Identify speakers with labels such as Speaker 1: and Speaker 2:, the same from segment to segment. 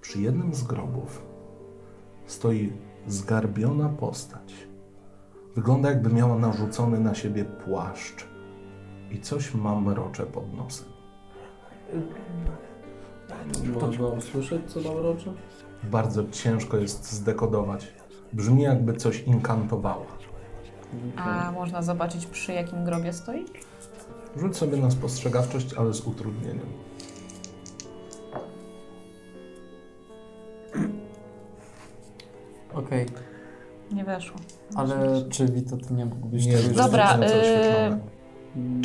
Speaker 1: Przy jednym z grobów stoi zgarbiona postać. Wygląda jakby miała narzucony na siebie płaszcz i coś ma mrocze pod nosem.
Speaker 2: Można usłyszeć, co tam roczy?
Speaker 1: Bardzo ciężko jest zdekodować. Brzmi jakby coś inkantowała.
Speaker 3: A można zobaczyć przy jakim grobie stoi?
Speaker 1: Rzuć sobie na spostrzegawczość, ale z utrudnieniem.
Speaker 4: Okej,
Speaker 3: Nie weszło.
Speaker 4: ale czy Wito, ty nie mógłbyś
Speaker 1: Nie,
Speaker 4: tego
Speaker 3: Dobra,
Speaker 1: jest
Speaker 3: y-
Speaker 1: oświetlone.
Speaker 4: zrobić?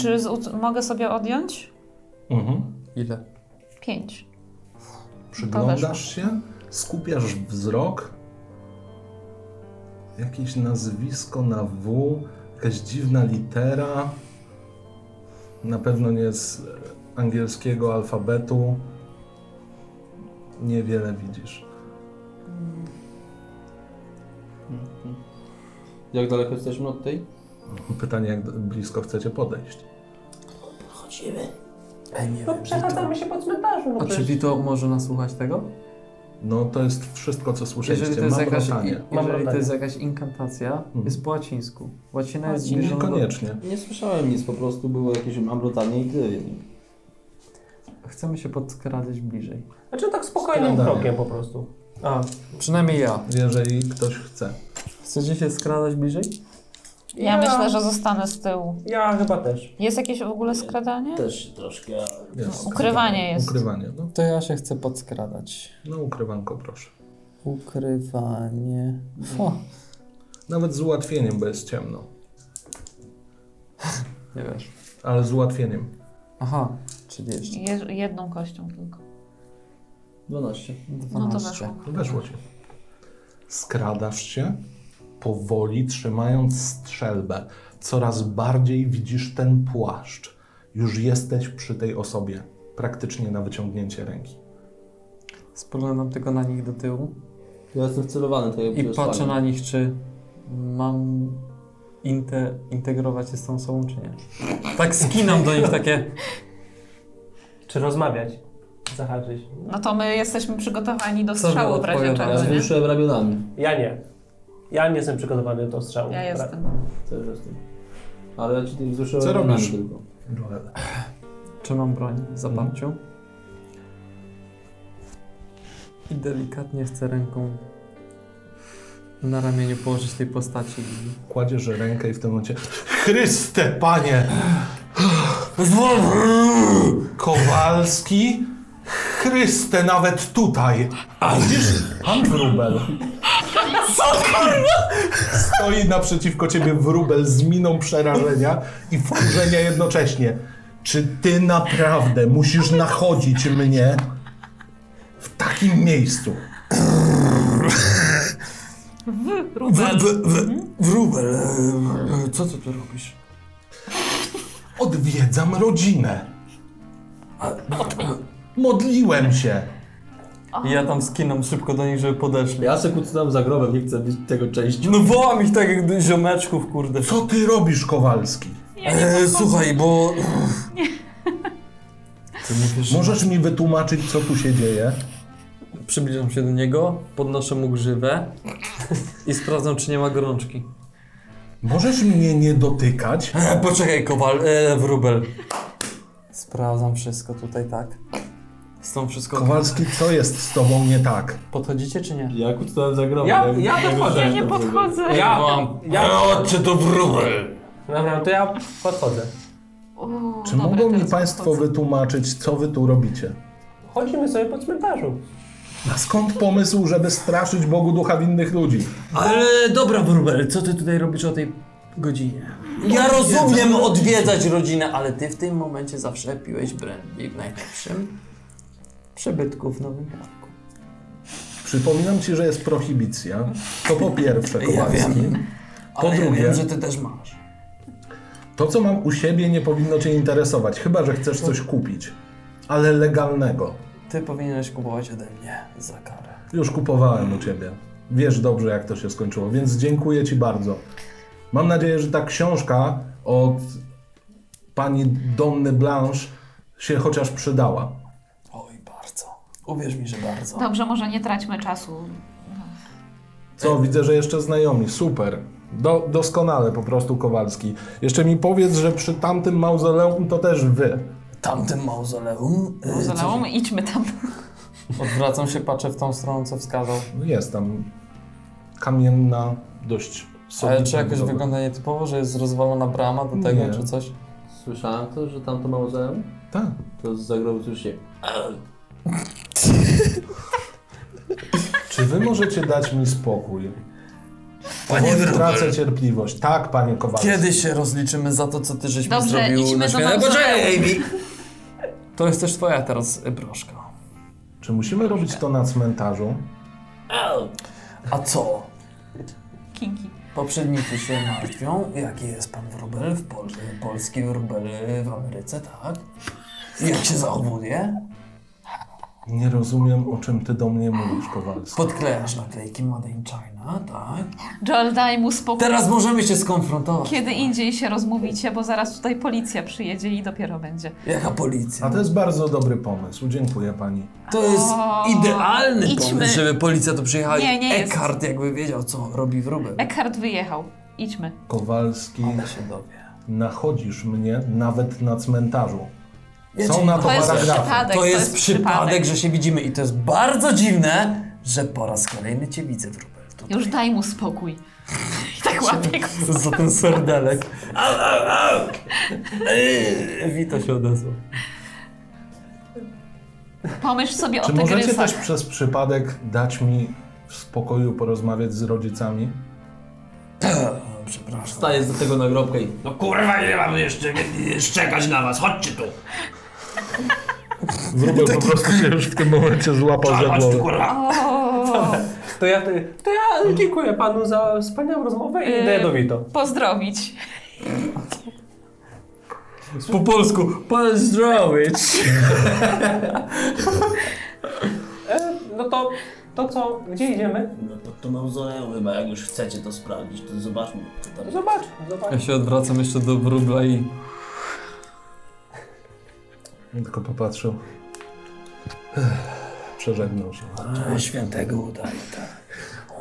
Speaker 3: Czy z, ut- mogę sobie odjąć?
Speaker 1: Mhm.
Speaker 4: Ile?
Speaker 3: Pięć.
Speaker 1: Przyglądasz się, skupiasz wzrok. Jakieś nazwisko na W, jakaś dziwna litera. Na pewno nie z angielskiego alfabetu. Niewiele widzisz.
Speaker 2: Jak daleko jesteśmy od tej?
Speaker 1: Pytanie, jak blisko chcecie podejść.
Speaker 4: Ej, nie wiem,
Speaker 5: Przechadzamy się po cmentarzu.
Speaker 4: A
Speaker 5: No
Speaker 4: czy
Speaker 5: przecież.
Speaker 4: Wito może nasłuchać tego?
Speaker 1: No to jest wszystko, co
Speaker 4: Jeżeli
Speaker 1: słyszeliście.
Speaker 4: to jest
Speaker 1: Mam
Speaker 4: jakaś,
Speaker 1: wrażenie.
Speaker 4: jeżeli to
Speaker 5: wrażenie.
Speaker 4: jest jakaś inkantacja, jest po łacińsku. Łacina jest
Speaker 3: Łacina.
Speaker 4: zbliżona do...
Speaker 1: Niekoniecznie.
Speaker 2: Nie słyszałem nic, po prostu było jakieś amrotanie i tyle.
Speaker 4: Chcemy się podskradać bliżej.
Speaker 5: Znaczy tak spokojnym
Speaker 1: Skradanie.
Speaker 5: krokiem po prostu.
Speaker 4: A, przynajmniej ja.
Speaker 1: Jeżeli ktoś chce.
Speaker 4: Chcecie się skradać bliżej?
Speaker 3: Ja myślę, że zostanę z tyłu.
Speaker 5: Ja chyba też.
Speaker 3: Jest jakieś w ogóle skradanie?
Speaker 2: Też troszkę.
Speaker 1: Jest.
Speaker 3: No, Ukrywanie jest.
Speaker 1: Ukrywanie. No,
Speaker 4: To ja się chcę podskradać.
Speaker 1: no ukrywanko proszę.
Speaker 4: Ukrywanie. O,
Speaker 1: Nawet z ułatwieniem, bo jest ciemno.
Speaker 4: nie wiesz.
Speaker 1: Ale z ułatwieniem.
Speaker 4: Aha, 30.
Speaker 3: Je- jedną kością tylko.
Speaker 2: 12.
Speaker 4: 12.
Speaker 3: No to weszło.
Speaker 1: Weszło ci. Skradasz się, powoli trzymając strzelbę. Coraz bardziej widzisz ten płaszcz. Już jesteś przy tej osobie. Praktycznie na wyciągnięcie ręki.
Speaker 4: Spoglądam tylko na nich do tyłu
Speaker 2: Ja jestem wcelowany tak tutaj
Speaker 4: i patrzę na nich, czy mam inte integrować się z tą osobą, czy nie. Tak skinam do nich takie.
Speaker 5: Czy rozmawiać? Zahaczyć.
Speaker 3: No to my jesteśmy przygotowani do
Speaker 4: Co
Speaker 3: strzału
Speaker 4: wy
Speaker 3: w razie
Speaker 4: odpowiadacie?
Speaker 2: Ja
Speaker 3: czego, nie?
Speaker 2: wzruszyłem ramionami.
Speaker 5: Ja nie. Ja nie jestem przygotowany do strzału.
Speaker 3: Ja jestem.
Speaker 2: Też jestem. Ale ja ci tym wzruszyłem
Speaker 1: Co
Speaker 2: ramionami
Speaker 1: robisz?
Speaker 2: tylko.
Speaker 1: Joel.
Speaker 4: Czy mam broń w zaparciu? I delikatnie chcę ręką na ramieniu położyć tej postaci.
Speaker 1: Kładziesz rękę i w tym momencie... Chryste, panie! Kowalski? Chryste, nawet tutaj! A widzisz, pan wróbel. Stoi naprzeciwko ciebie wróbel z miną przerażenia i wkurzenia jednocześnie. Czy ty naprawdę musisz nachodzić mnie w takim miejscu?
Speaker 4: Wróbel! Wróbel! E, Co ty tu robisz?
Speaker 1: Odwiedzam rodzinę. Modliłem się.
Speaker 4: I ja tam skinam szybko do nich, żeby podeszli.
Speaker 2: Ja se kucnąłem za grobem, nie chcę być tego częścią.
Speaker 4: No wołam ich tak jak do ziomeczków, kurde.
Speaker 1: Co ty robisz, Kowalski?
Speaker 4: E, słuchaj, bo... Ty nie wiesz,
Speaker 1: Możesz mi wytłumaczyć, co tu się dzieje?
Speaker 4: Przybliżam się do niego, podnoszę mu grzywę i sprawdzam, czy nie ma gorączki.
Speaker 1: Możesz mnie nie dotykać?
Speaker 4: E, poczekaj, kowal, e, wróbel. Sprawdzam wszystko tutaj, tak? Z tą wszystko...
Speaker 1: Kowalski, co jest z tobą nie tak?
Speaker 4: No Podchodzicie, czy nie?
Speaker 2: Ja kucnąłem za grobem.
Speaker 5: Ja- ja podchodzę.
Speaker 3: Ja nie podchodzę.
Speaker 5: Ja,
Speaker 4: Wołam,
Speaker 5: ja-
Speaker 4: e, odczy to wróbel!
Speaker 5: Dobra, to ja podchodzę.
Speaker 3: Uuu,
Speaker 1: Czy
Speaker 3: dobra,
Speaker 1: mogą mi
Speaker 3: teraz
Speaker 1: państwo
Speaker 3: podchodzę.
Speaker 1: wytłumaczyć, co wy tu robicie?
Speaker 5: Chodzimy sobie po cmentarzu.
Speaker 1: A skąd pomysł, żeby straszyć Bogu ducha winnych ludzi?
Speaker 4: Ale dobra, wróbel, co ty tutaj robisz o tej godzinie? Ja rozumiem odwiedzać rodzinę, ale ty w tym momencie zawsze piłeś brandy w najlepszym przebytku w Nowym Jorku.
Speaker 1: Przypominam ci, że jest prohibicja. To po pierwsze, Kowalski.
Speaker 4: Ale
Speaker 1: Po
Speaker 4: ja
Speaker 1: drugie-
Speaker 4: wiem, że ty też masz.
Speaker 1: To, co mam u siebie, nie powinno cię interesować, chyba że chcesz coś kupić. Ale legalnego.
Speaker 4: Ty powinieneś kupować ode mnie za karę.
Speaker 1: Już kupowałem u ciebie. Wiesz dobrze, jak to się skończyło, więc dziękuję ci bardzo. Mam nadzieję, że ta książka od pani Donny Blanche się chociaż przydała.
Speaker 4: Oj, bardzo. Uwierz mi, że bardzo.
Speaker 3: Dobrze, może nie traćmy czasu.
Speaker 1: Co, widzę, że jeszcze znajomi. Super. Do, doskonale po prostu Kowalski. Jeszcze mi powiedz, że przy tamtym mauzoleum to też wy.
Speaker 4: Tamtym mauzoleum... y,
Speaker 3: Mauzoleum, idźmy tam.
Speaker 4: coś- Odwracam się, patrzę w tą stronę, co wskazał.
Speaker 1: No Jest tam kamienna, dość solidna.
Speaker 4: Ale czy jakoś
Speaker 1: budowa.
Speaker 4: wygląda nietypowo, że jest rozwalona brama do tego,
Speaker 1: Nie.
Speaker 4: czy coś?
Speaker 2: Słyszałem to, że tamto mauzoleum?
Speaker 1: Tak.
Speaker 2: To z zagrobu słyszy.
Speaker 1: Czy wy możecie dać mi spokój?
Speaker 4: Panie
Speaker 1: Powoli
Speaker 4: Wróbel.
Speaker 1: Tracę cierpliwość. Tak, panie Kowalski.
Speaker 4: Kiedy się rozliczymy za to, co ty żeś mi
Speaker 3: Dobrze,
Speaker 4: zrobił
Speaker 3: idźmy
Speaker 4: na
Speaker 3: do
Speaker 4: święta?
Speaker 3: mauzoleum.
Speaker 4: Poczekaj, Amy! To jest też twoja teraz y, broszka.
Speaker 1: Czy musimy robić to na cmentarzu?
Speaker 4: A co?
Speaker 3: Kinki.
Speaker 4: Poprzednicy się martwią, jaki jest pan wróbel w Polsce, polski wróbel w Ameryce, tak? I Jak się zachowuje?
Speaker 1: Nie rozumiem, o czym ty do mnie mówisz, Kowalski.
Speaker 4: Podklejasz naklejki Made in China, tak?
Speaker 3: Joel, daj mu spokój.
Speaker 4: Teraz możemy się skonfrontować.
Speaker 3: Kiedy indziej się rozmówicie, bo zaraz tutaj policja przyjedzie i dopiero będzie.
Speaker 4: Jaka policja?
Speaker 1: A to jest bardzo dobry pomysł. Dziękuję pani.
Speaker 4: To jest
Speaker 3: O,
Speaker 4: idealny
Speaker 3: idźmy.
Speaker 4: pomysł, żeby policja tu przyjechała.
Speaker 3: Nie, nie jest.
Speaker 4: Eckhart jakby wiedział, co robi wróbel.
Speaker 3: Eckhart wyjechał. Idźmy.
Speaker 1: Kowalski,
Speaker 4: On się dowie.
Speaker 1: nachodzisz mnie nawet na cmentarzu.
Speaker 4: Wiecie,
Speaker 1: Są na to
Speaker 3: To jest
Speaker 1: paragrafy.
Speaker 3: przypadek.
Speaker 4: To jest przypadek, że się widzimy i to jest bardzo dziwne, że po raz kolejny cię widzę wróbel. tutaj.
Speaker 3: Już daj mu spokój. I tak łapie go.
Speaker 4: za ten serdelek. Au, au, au! Ej, Wito się odezwał.
Speaker 3: Pomyśl sobie o
Speaker 1: Czy możecie
Speaker 3: tygrysach.
Speaker 1: też przez przypadek dać mi w spokoju porozmawiać z rodzicami?
Speaker 4: Przepraszam.
Speaker 2: Wstaje z tego nagrobka i...
Speaker 6: No kurwa, nie mam jeszcze nie- szczekać na was, chodźcie tu!
Speaker 1: Wróbel po prostu się już w tym momencie złapał za
Speaker 6: Chodź tu,
Speaker 1: głowę.
Speaker 6: kurwa!
Speaker 3: O,
Speaker 5: To ja, to ja dziękuję panu za wspaniałą rozmowę i idę
Speaker 3: Yy.
Speaker 5: do Vito.
Speaker 3: pozdrowić.
Speaker 4: Po polsku, pozdrowić.
Speaker 5: E, no to, to co, gdzie idziemy?
Speaker 6: No to, to mauzoleum chyba, jak już chcecie to sprawdzić, to zobaczmy, co tam
Speaker 5: Zobacz, zobacz.
Speaker 4: Ja się odwracam jeszcze do wróbla i...
Speaker 1: Tylko popatrzył. Ech, Przeżegnał się.
Speaker 4: A, świętego udaje, tak.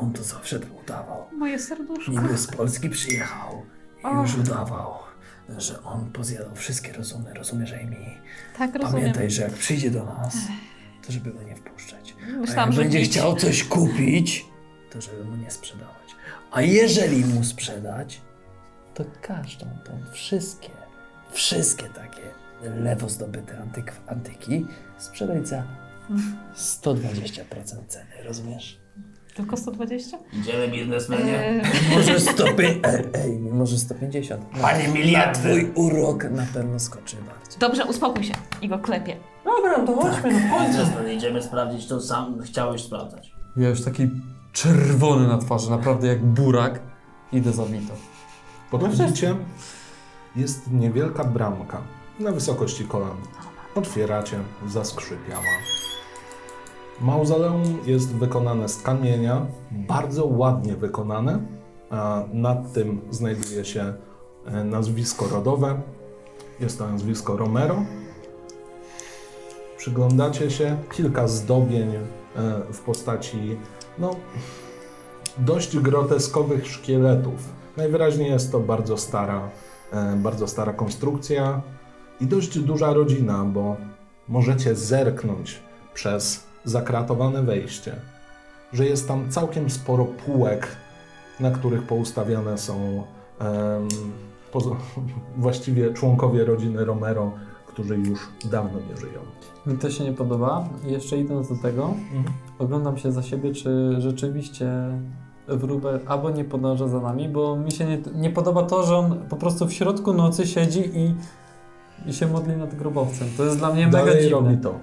Speaker 4: On to zawsze tak udawał.
Speaker 3: Moje serduszko.
Speaker 4: Niby z Polski przyjechał i już udawał, że on pozjadał wszystkie rozumy. Rozumiesz, Amy?
Speaker 3: Tak rozumiem.
Speaker 4: Pamiętaj, że jak przyjdzie do nas, to żeby go nie wpuszczać. A
Speaker 3: Myślałam,
Speaker 4: jak
Speaker 3: że
Speaker 4: będzie
Speaker 3: nic.
Speaker 4: chciał coś kupić, to żeby mu nie sprzedawać. A jeżeli mu sprzedać, to każdą tą wszystkie, wszystkie takie lewo zdobyte antyk, antyki sprzedać za
Speaker 3: Mhm.
Speaker 4: 120% ceny, rozumiesz?
Speaker 3: Tylko 120?
Speaker 6: Idziemy biznesmenie.
Speaker 3: Yy,
Speaker 4: Może 150, ej, ej, może 150.
Speaker 6: Panie miliardy!
Speaker 4: Twój urok na pewno skoczy bardziej.
Speaker 3: dobrze, uspokój się. I go klepie.
Speaker 5: Dobra, no to chodźmy, no
Speaker 4: Tak.
Speaker 5: chodź.
Speaker 6: Przestań, idziemy sprawdzić to sam chciałeś sprawdzać.
Speaker 4: Ja już taki czerwony na twarzy, naprawdę jak burak, idę za Vito.
Speaker 1: Podchodzicie, jest niewielka bramka na wysokości kolan. Otwieracie, zaskrzypiała. Mauzoleum jest wykonane z kamienia, bardzo ładnie wykonane. a Nad tym znajduje się e, nazwisko rodowe. Jest to nazwisko Romero. Przyglądacie się kilka zdobień e, w postaci no, dość groteskowych szkieletów. Najwyraźniej jest to bardzo stara, e, bardzo stara konstrukcja i dość duża rodzina, bo możecie zerknąć przez zakratowane wejście, że jest tam całkiem sporo półek, na których poustawiane są em, pozo- właściwie członkowie rodziny Romero, którzy już dawno nie żyją.
Speaker 7: Mi to się nie podoba. Jeszcze idąc do tego,
Speaker 1: Mhm.
Speaker 7: oglądam się za siebie, czy rzeczywiście wróbel albo nie podąża za nami, bo mi się nie, nie podoba to, że on po prostu w środku nocy siedzi i, i się modli nad grobowcem. To jest dla mnie mega
Speaker 1: Dalej
Speaker 7: dziwne.
Speaker 1: robi to.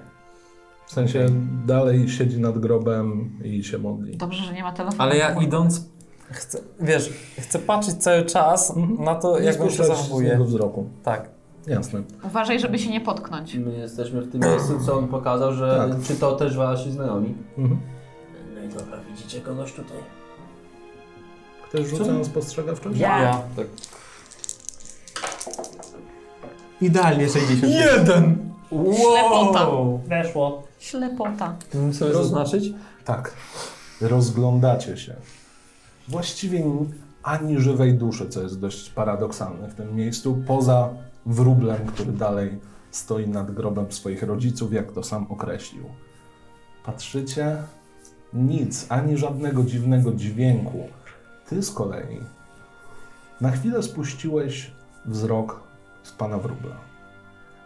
Speaker 1: W sensie dalej siedzi nad grobem i się modli.
Speaker 3: Dobrze, że nie ma telefonu.
Speaker 7: Ale ja idąc,
Speaker 4: Chcę, wiesz, chcę patrzeć cały czas
Speaker 1: Mhm.
Speaker 4: na to, jak on
Speaker 1: spuszczać
Speaker 4: się
Speaker 1: z niego
Speaker 4: zachowuje.
Speaker 1: wzroku.
Speaker 4: Tak.
Speaker 1: Jasne.
Speaker 3: Uważaj, żeby się nie potknąć.
Speaker 2: My jesteśmy w tym miejscu, co on pokazał, że
Speaker 1: Tak.
Speaker 2: czy to też wasi znajomi.
Speaker 1: Mhm.
Speaker 6: No i dobra, widzicie kogoś tutaj?
Speaker 1: Ktoś rzuca na spostrzegawczość?
Speaker 3: Ja.
Speaker 2: Tak.
Speaker 7: idealnie 60.
Speaker 4: Jeden!
Speaker 3: Ślepota.
Speaker 5: Weszło.
Speaker 3: Ślepota.
Speaker 7: Mam sobie
Speaker 2: Rozum-
Speaker 7: zaznaczyć?
Speaker 1: Tak. Rozglądacie się. Właściwie ani żywej duszy, co jest dość paradoksalne w tym miejscu, poza wróblem, który dalej stoi nad grobem swoich rodziców, jak to sam określił. Patrzycie, nic, ani żadnego dziwnego dźwięku. Ty z kolei na chwilę spuściłeś wzrok z pana wróbla.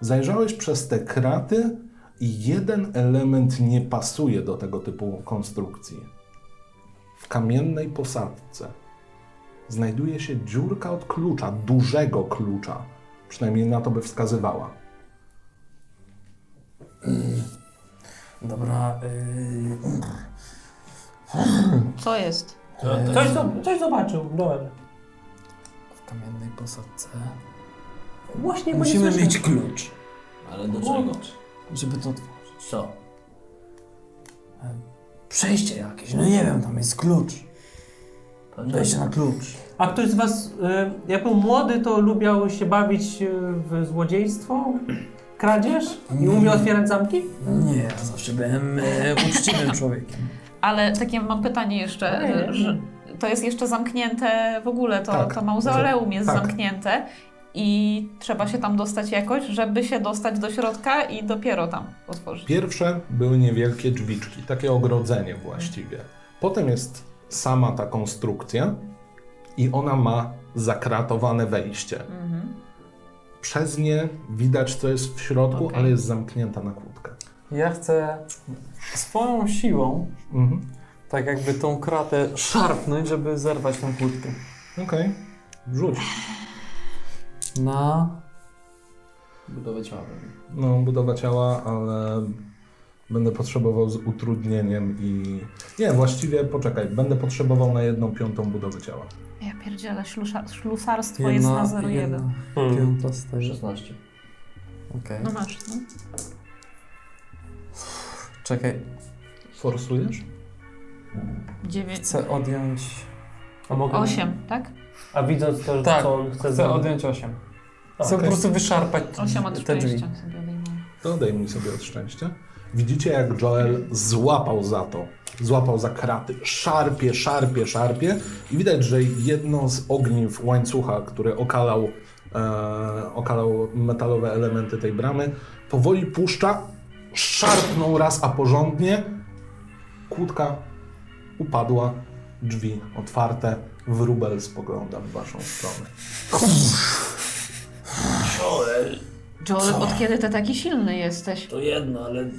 Speaker 1: Zajrzałeś przez te kraty i jeden element nie pasuje do tego typu konstrukcji. W kamiennej posadzce znajduje się dziurka od klucza, dużego klucza. Przynajmniej na to by wskazywała.
Speaker 4: Dobra, yy,
Speaker 3: Co jest?
Speaker 5: Coś, zo- coś zobaczył, Noel.
Speaker 4: w kamiennej posadce.
Speaker 5: Właśnie, bo nie
Speaker 4: Musimy
Speaker 5: słyszę.
Speaker 4: mieć klucz,
Speaker 6: Ale do czego?
Speaker 4: żeby to otworzyć.
Speaker 6: Co?
Speaker 4: Przejście jakieś, no nie wiem, tam jest klucz.
Speaker 6: No
Speaker 4: Wejście na klucz.
Speaker 5: A ktoś z was, y, jak był młody, to lubiał się bawić y, w złodziejstwo, kradzież i umiał otwierać zamki?
Speaker 4: No Nie, ja zawsze byłem e, uczciwym człowiekiem.
Speaker 3: Ale takie mam pytanie jeszcze,
Speaker 5: Nie, nie, nie.
Speaker 3: że to jest jeszcze zamknięte w ogóle, to,
Speaker 1: Tak.
Speaker 3: to mauzoleum jest
Speaker 1: Tak.
Speaker 3: zamknięte i trzeba się tam dostać jakoś, żeby się dostać do środka i dopiero tam otworzyć.
Speaker 1: Pierwsze były niewielkie drzwiczki, takie ogrodzenie właściwie. Potem jest sama ta konstrukcja i ona ma zakratowane wejście.
Speaker 3: Mhm.
Speaker 1: Przez nie widać, co jest w środku,
Speaker 3: Okej.
Speaker 1: ale jest zamknięta na kłódkę.
Speaker 7: Ja chcę swoją siłą,
Speaker 1: Mhm.
Speaker 7: tak jakby tą kratę szarpnąć, żeby zerwać tą kłódkę.
Speaker 1: Okej, rzuć.
Speaker 7: Na...
Speaker 2: Budowę ciała.
Speaker 1: No, budowa ciała, ale będę potrzebował z utrudnieniem i... Nie, właściwie poczekaj, będę potrzebował na jedną piątą budowy ciała.
Speaker 3: Ja pierdzielę, ślusza, ślusarstwo jest na 0,1.
Speaker 7: jedna
Speaker 5: Hmm.
Speaker 7: piąta z tego.
Speaker 2: 16.
Speaker 7: Okej.
Speaker 3: No masz, no.
Speaker 7: Czekaj,
Speaker 1: Forsujesz?
Speaker 3: 9,
Speaker 7: chcę odjąć...
Speaker 5: A, mogę,
Speaker 3: 8, tak?
Speaker 5: a widząc to, że
Speaker 7: Tak,
Speaker 5: co on chce
Speaker 7: Chcę
Speaker 5: zrobić.
Speaker 7: odjąć 8.
Speaker 5: A,
Speaker 7: Chcę po
Speaker 1: okej.
Speaker 7: prostu wyszarpać
Speaker 3: 8 od
Speaker 7: te drzwi.
Speaker 3: szczęścia sobie odejmuję.
Speaker 1: To odejmij sobie od szczęścia. Widzicie, jak Joel złapał za to. Złapał za kraty. Szarpie, szarpie, szarpie. I widać, że jedno z ogniw łańcucha, który okalał, e, okalał metalowe elementy tej bramy, powoli puszcza. Szarpnął raz, a porządnie. Kłódka upadła. Drzwi otwarte. Wróbel spogląda w waszą stronę.
Speaker 6: Joel,
Speaker 3: Joel, od kiedy ty taki silny jesteś?
Speaker 6: to jedno, ale d-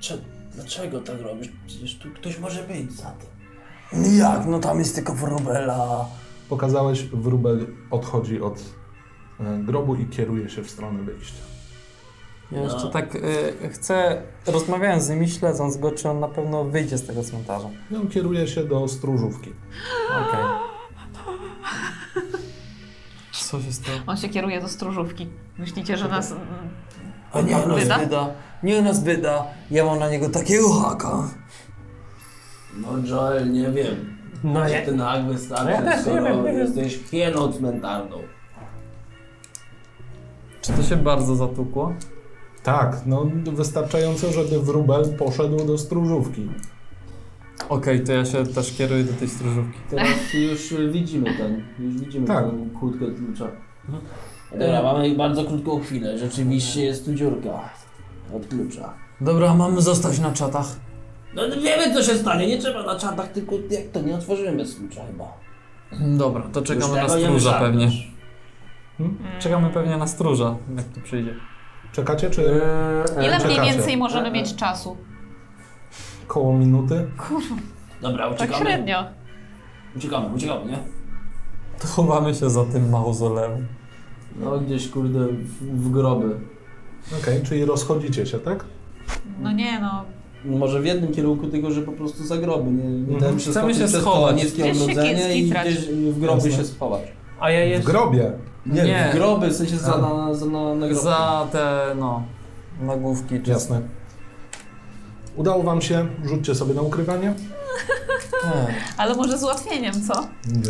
Speaker 6: cze- dlaczego tak robisz? Przecież tu ktoś może być za tym.
Speaker 4: Jak? No tam jest tylko wróbela.
Speaker 1: Pokazałeś, wróbel odchodzi od e, grobu i kieruje się w stronę wyjścia.
Speaker 7: Ja jeszcze tak y, chcę, rozmawiając z nim i śledząc go, czy on na pewno wyjdzie z tego cmentarza.
Speaker 1: I on kieruje się do stróżówki.
Speaker 7: Okej. Co się stało?
Speaker 3: On się kieruje do stróżówki. Myślicie, że nas... mm,
Speaker 4: A
Speaker 7: no,
Speaker 4: niech nas
Speaker 3: Wyda?
Speaker 4: wyda, niech nas wyda. Ja mam na niego takiego haka.
Speaker 6: No Joel, nie wiem.
Speaker 5: No
Speaker 6: Czy
Speaker 5: nie.
Speaker 6: ty nagły stary,
Speaker 5: Ja też nie
Speaker 6: skoro
Speaker 5: wiem, nie wiem.
Speaker 6: jesteś hieną cmentarną.
Speaker 7: Czy to się bardzo zatukło?
Speaker 1: Tak, no wystarczająco, żeby wróbel poszedł do stróżówki.
Speaker 7: Okej, to ja się też kieruję do tej stróżówki.
Speaker 2: Teraz już y, widzimy ten, już widzimy
Speaker 1: Tak.
Speaker 2: tą kłódkę klucza.
Speaker 6: Mhm.
Speaker 2: E-
Speaker 6: Dobra, mamy bardzo krótką chwilę. Rzeczywiście jest tu dziurka od klucza.
Speaker 4: Dobra, mamy zostać na czatach.
Speaker 6: No wiemy co się stanie, nie trzeba na czatach, tylko jak to, nie otworzymy bez klucza chyba.
Speaker 7: Dobra, to czekamy
Speaker 6: Już
Speaker 7: na
Speaker 6: tego nie
Speaker 7: stróża
Speaker 6: wyszarpiesz.
Speaker 7: pewnie.
Speaker 3: Mm.
Speaker 7: Czekamy pewnie na stróża, jak tu przyjdzie.
Speaker 1: Czekacie, czy
Speaker 3: Ile mniej
Speaker 1: czekacie.
Speaker 3: więcej możemy
Speaker 7: E,
Speaker 3: mieć czasu?
Speaker 1: koło minuty?
Speaker 6: Dobra,
Speaker 3: Tak
Speaker 6: uciekamy.
Speaker 3: średnio.
Speaker 6: Uciekamy, uciekamy, nie?
Speaker 7: To chowamy się za tym mauzoleum.
Speaker 2: No gdzieś kurde w, w groby.
Speaker 1: Okej, czyli rozchodzicie się, tak?
Speaker 3: No nie no,
Speaker 2: Może w jednym kierunku, tylko że po prostu za groby. Nie, nie
Speaker 1: Mhm.
Speaker 2: dałem przeskoczyć
Speaker 7: się
Speaker 2: przez
Speaker 7: schować.
Speaker 2: to Niskie
Speaker 3: Gdzieś się
Speaker 2: ogrodzenie i
Speaker 3: kitrać.
Speaker 2: gdzieś w groby
Speaker 1: Jasne.
Speaker 2: się schować.
Speaker 5: A ja
Speaker 1: W
Speaker 5: jeszcze...
Speaker 1: grobie.
Speaker 2: Nie,
Speaker 7: Nie.
Speaker 2: w groby, w sensie za,
Speaker 1: A.
Speaker 2: na, za na, na groby.
Speaker 7: Za te, no, nagłówki czy...
Speaker 1: Jasne. Udało wam się, rzućcie sobie na ukrywanie.
Speaker 7: Ech,
Speaker 3: ale może z ułatwieniem, co?
Speaker 1: Nie.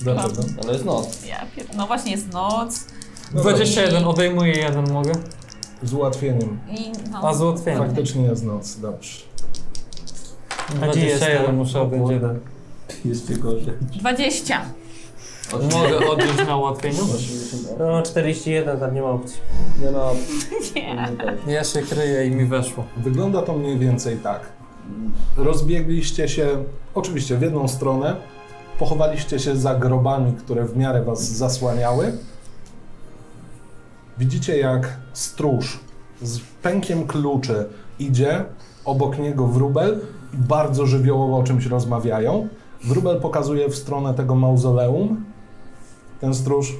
Speaker 1: Dlaczego?
Speaker 2: Ale jest noc.
Speaker 3: Ja pier... No właśnie, jest noc.
Speaker 7: 21, odejmuję jeden, mogę?
Speaker 1: Z ułatwieniem.
Speaker 3: I no.
Speaker 7: A z ułatwieniem.
Speaker 1: Faktycznie jest noc, dobrze.
Speaker 7: Gdzie
Speaker 5: 21
Speaker 7: jestem?
Speaker 5: muszę
Speaker 7: O
Speaker 5: będzie.
Speaker 7: kurde.
Speaker 6: Jeszcze gorzej.
Speaker 3: 20.
Speaker 7: Mogę odjąć na ułatwieniu?
Speaker 5: No 41, tam nie ma opcji.
Speaker 6: Nie ma.
Speaker 2: no.
Speaker 3: Nie.
Speaker 2: tak.
Speaker 7: Ja się kryję i mi weszło.
Speaker 1: Wygląda to mniej więcej tak. Rozbiegliście się, oczywiście w jedną stronę, pochowaliście się za grobami, które w miarę was zasłaniały. Widzicie, jak stróż z pękiem kluczy idzie, obok niego wróbel i bardzo żywiołowo o czymś rozmawiają. Wróbel pokazuje w stronę tego mauzoleum. Ten stróż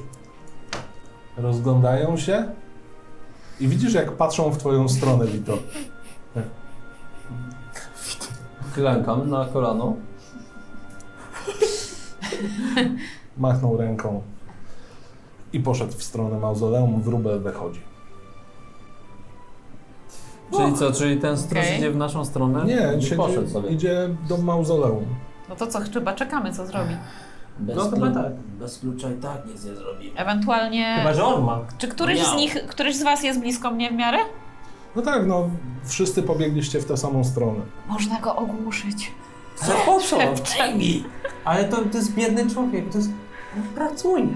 Speaker 1: rozglądają się i widzisz, jak patrzą w twoją stronę, Wito.
Speaker 4: Klękam na kolano.
Speaker 1: machnął ręką i poszedł w stronę mauzoleum. Wróbel wychodzi.
Speaker 7: Czyli co, czyli ten stróż
Speaker 3: Okej.
Speaker 7: idzie w naszą stronę?
Speaker 1: Nie,
Speaker 6: I
Speaker 1: siedzi,
Speaker 6: poszedł sobie.
Speaker 1: idzie do mauzoleum.
Speaker 3: No to co, chyba czekamy, co zrobi.
Speaker 6: Bez,
Speaker 5: No chyba tak.
Speaker 6: bez klucza i tak nic nie zrobimy.
Speaker 3: Ewentualnie.
Speaker 5: Chyba, że on ma.
Speaker 3: Czy któryś z
Speaker 6: Miał.
Speaker 3: nich, któryś z was jest blisko mnie w miarę?
Speaker 1: No tak, no, wszyscy pobiegliście w tę samą stronę.
Speaker 3: Można go ogłuszyć. Tak.
Speaker 5: Ale po co?
Speaker 6: Jamie,
Speaker 5: Ale to, to jest biedny człowiek, to jest... On pracuje.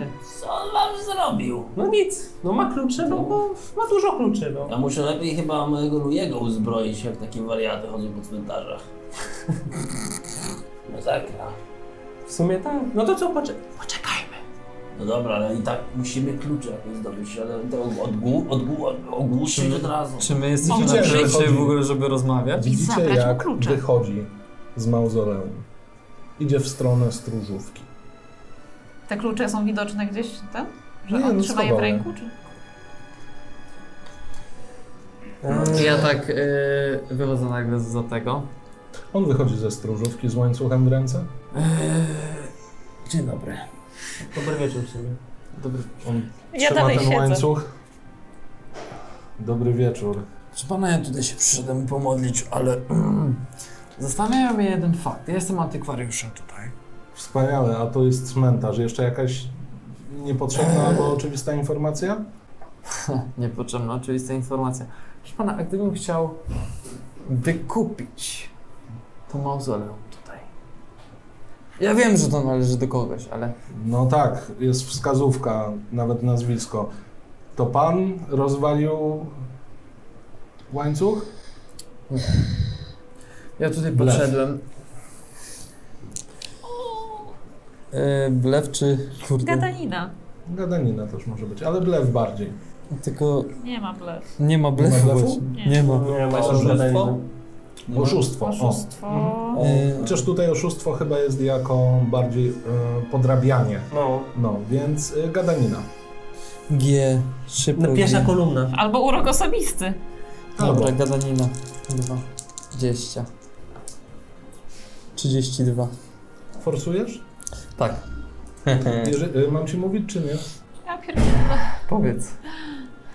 Speaker 6: co on wam zrobił?
Speaker 5: No nic, no ma klucze, no bo ma dużo kluczy, no.
Speaker 6: Ja muszę lepiej chyba mojego Lujego uzbroić, jak takie wariaty chodzą po cmentarzach. No tak, Masakra.
Speaker 5: W sumie tak. No to co, poczekaj.
Speaker 6: No dobra, ale i tak musimy klucze jakoś zdobyć, ale to odgłu, odgłu, ogłuszyć od razu.
Speaker 7: Czy my jesteśmy
Speaker 1: Gdzie
Speaker 7: na tyle
Speaker 1: wychodzi?
Speaker 7: w ogóle, żeby rozmawiać?
Speaker 1: Widzicie,
Speaker 3: zabrać mu
Speaker 1: jak
Speaker 3: klucze.
Speaker 1: wychodzi z mauzoleum. Idzie w stronę stróżówki.
Speaker 3: Te klucze są widoczne gdzieś ten? Że
Speaker 1: Nie,
Speaker 3: on
Speaker 1: no
Speaker 3: trzyma je w
Speaker 1: schowane.
Speaker 3: ręku? Czy...
Speaker 7: Ja tak y, wychodzę nagle za tego.
Speaker 1: On wychodzi ze stróżówki z łańcuchem w ręce.
Speaker 6: Dzień dobry.
Speaker 5: Dobry wieczór w sumie.
Speaker 7: Dobry.
Speaker 1: On
Speaker 3: Ja
Speaker 1: trzyma
Speaker 3: dalej
Speaker 1: ten
Speaker 3: siedzę.
Speaker 1: łańcuch. Dobry wieczór.
Speaker 4: Proszę pana, ja tutaj się przyszedłem pomodlić, ale... Zastanawia mnie jeden fakt. Ja jestem antykwariuszem tutaj.
Speaker 1: Wspaniale, a to jest cmentarz. Jeszcze jakaś niepotrzebna albo oczywista informacja?
Speaker 7: Niepotrzebna oczywista informacja. Proszę pana, a gdybym chciał wykupić to mauzoleum tutaj. Ja wiem, że to należy do kogoś, ale
Speaker 1: No tak, jest wskazówka, nawet nazwisko. To pan rozwalił łańcuch?
Speaker 7: ja tutaj
Speaker 1: Blef.
Speaker 7: podszedłem. Yy, blef czy... Kurde.
Speaker 3: Gadanina.
Speaker 1: Gadanina też może być, ale blef bardziej.
Speaker 7: Tylko
Speaker 3: Nie ma blef.
Speaker 7: nie ma
Speaker 1: Nie ma
Speaker 7: blefu.
Speaker 1: blefu?
Speaker 7: właśnie.
Speaker 3: Nie.
Speaker 7: Nie ma.
Speaker 5: No, Nie, ma
Speaker 6: Oszustwo?
Speaker 5: oszustwo.
Speaker 1: Oszustwo.
Speaker 7: No,
Speaker 1: O. E,
Speaker 3: Oszustwo.
Speaker 7: Yy,
Speaker 1: Chociaż tutaj oszustwo chyba jest jako bardziej e, podrabianie.
Speaker 5: No.
Speaker 1: No, więc y, gadanina.
Speaker 7: G, szybko
Speaker 5: No pierwsza
Speaker 7: G.
Speaker 5: kolumna.
Speaker 3: Albo urok osobisty.
Speaker 7: Dobra,
Speaker 1: Albo.
Speaker 7: gadanina. 2. 20. 32.
Speaker 1: Forsujesz?
Speaker 7: Tak.
Speaker 1: Jerzy, y, mam ci mówić, czy nie?
Speaker 3: Ja pierdolę.
Speaker 7: Powiedz.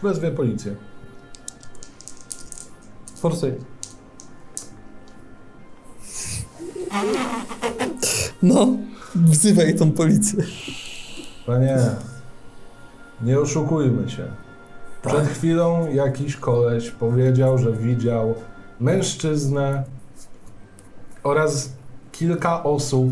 Speaker 1: Wezwie policję.
Speaker 7: Forsuj. No, wzywaj tą policję.
Speaker 1: Panie, nie oszukujmy się.
Speaker 7: Tak.
Speaker 1: Przed chwilą jakiś koleś powiedział, że widział mężczyznę oraz kilka osób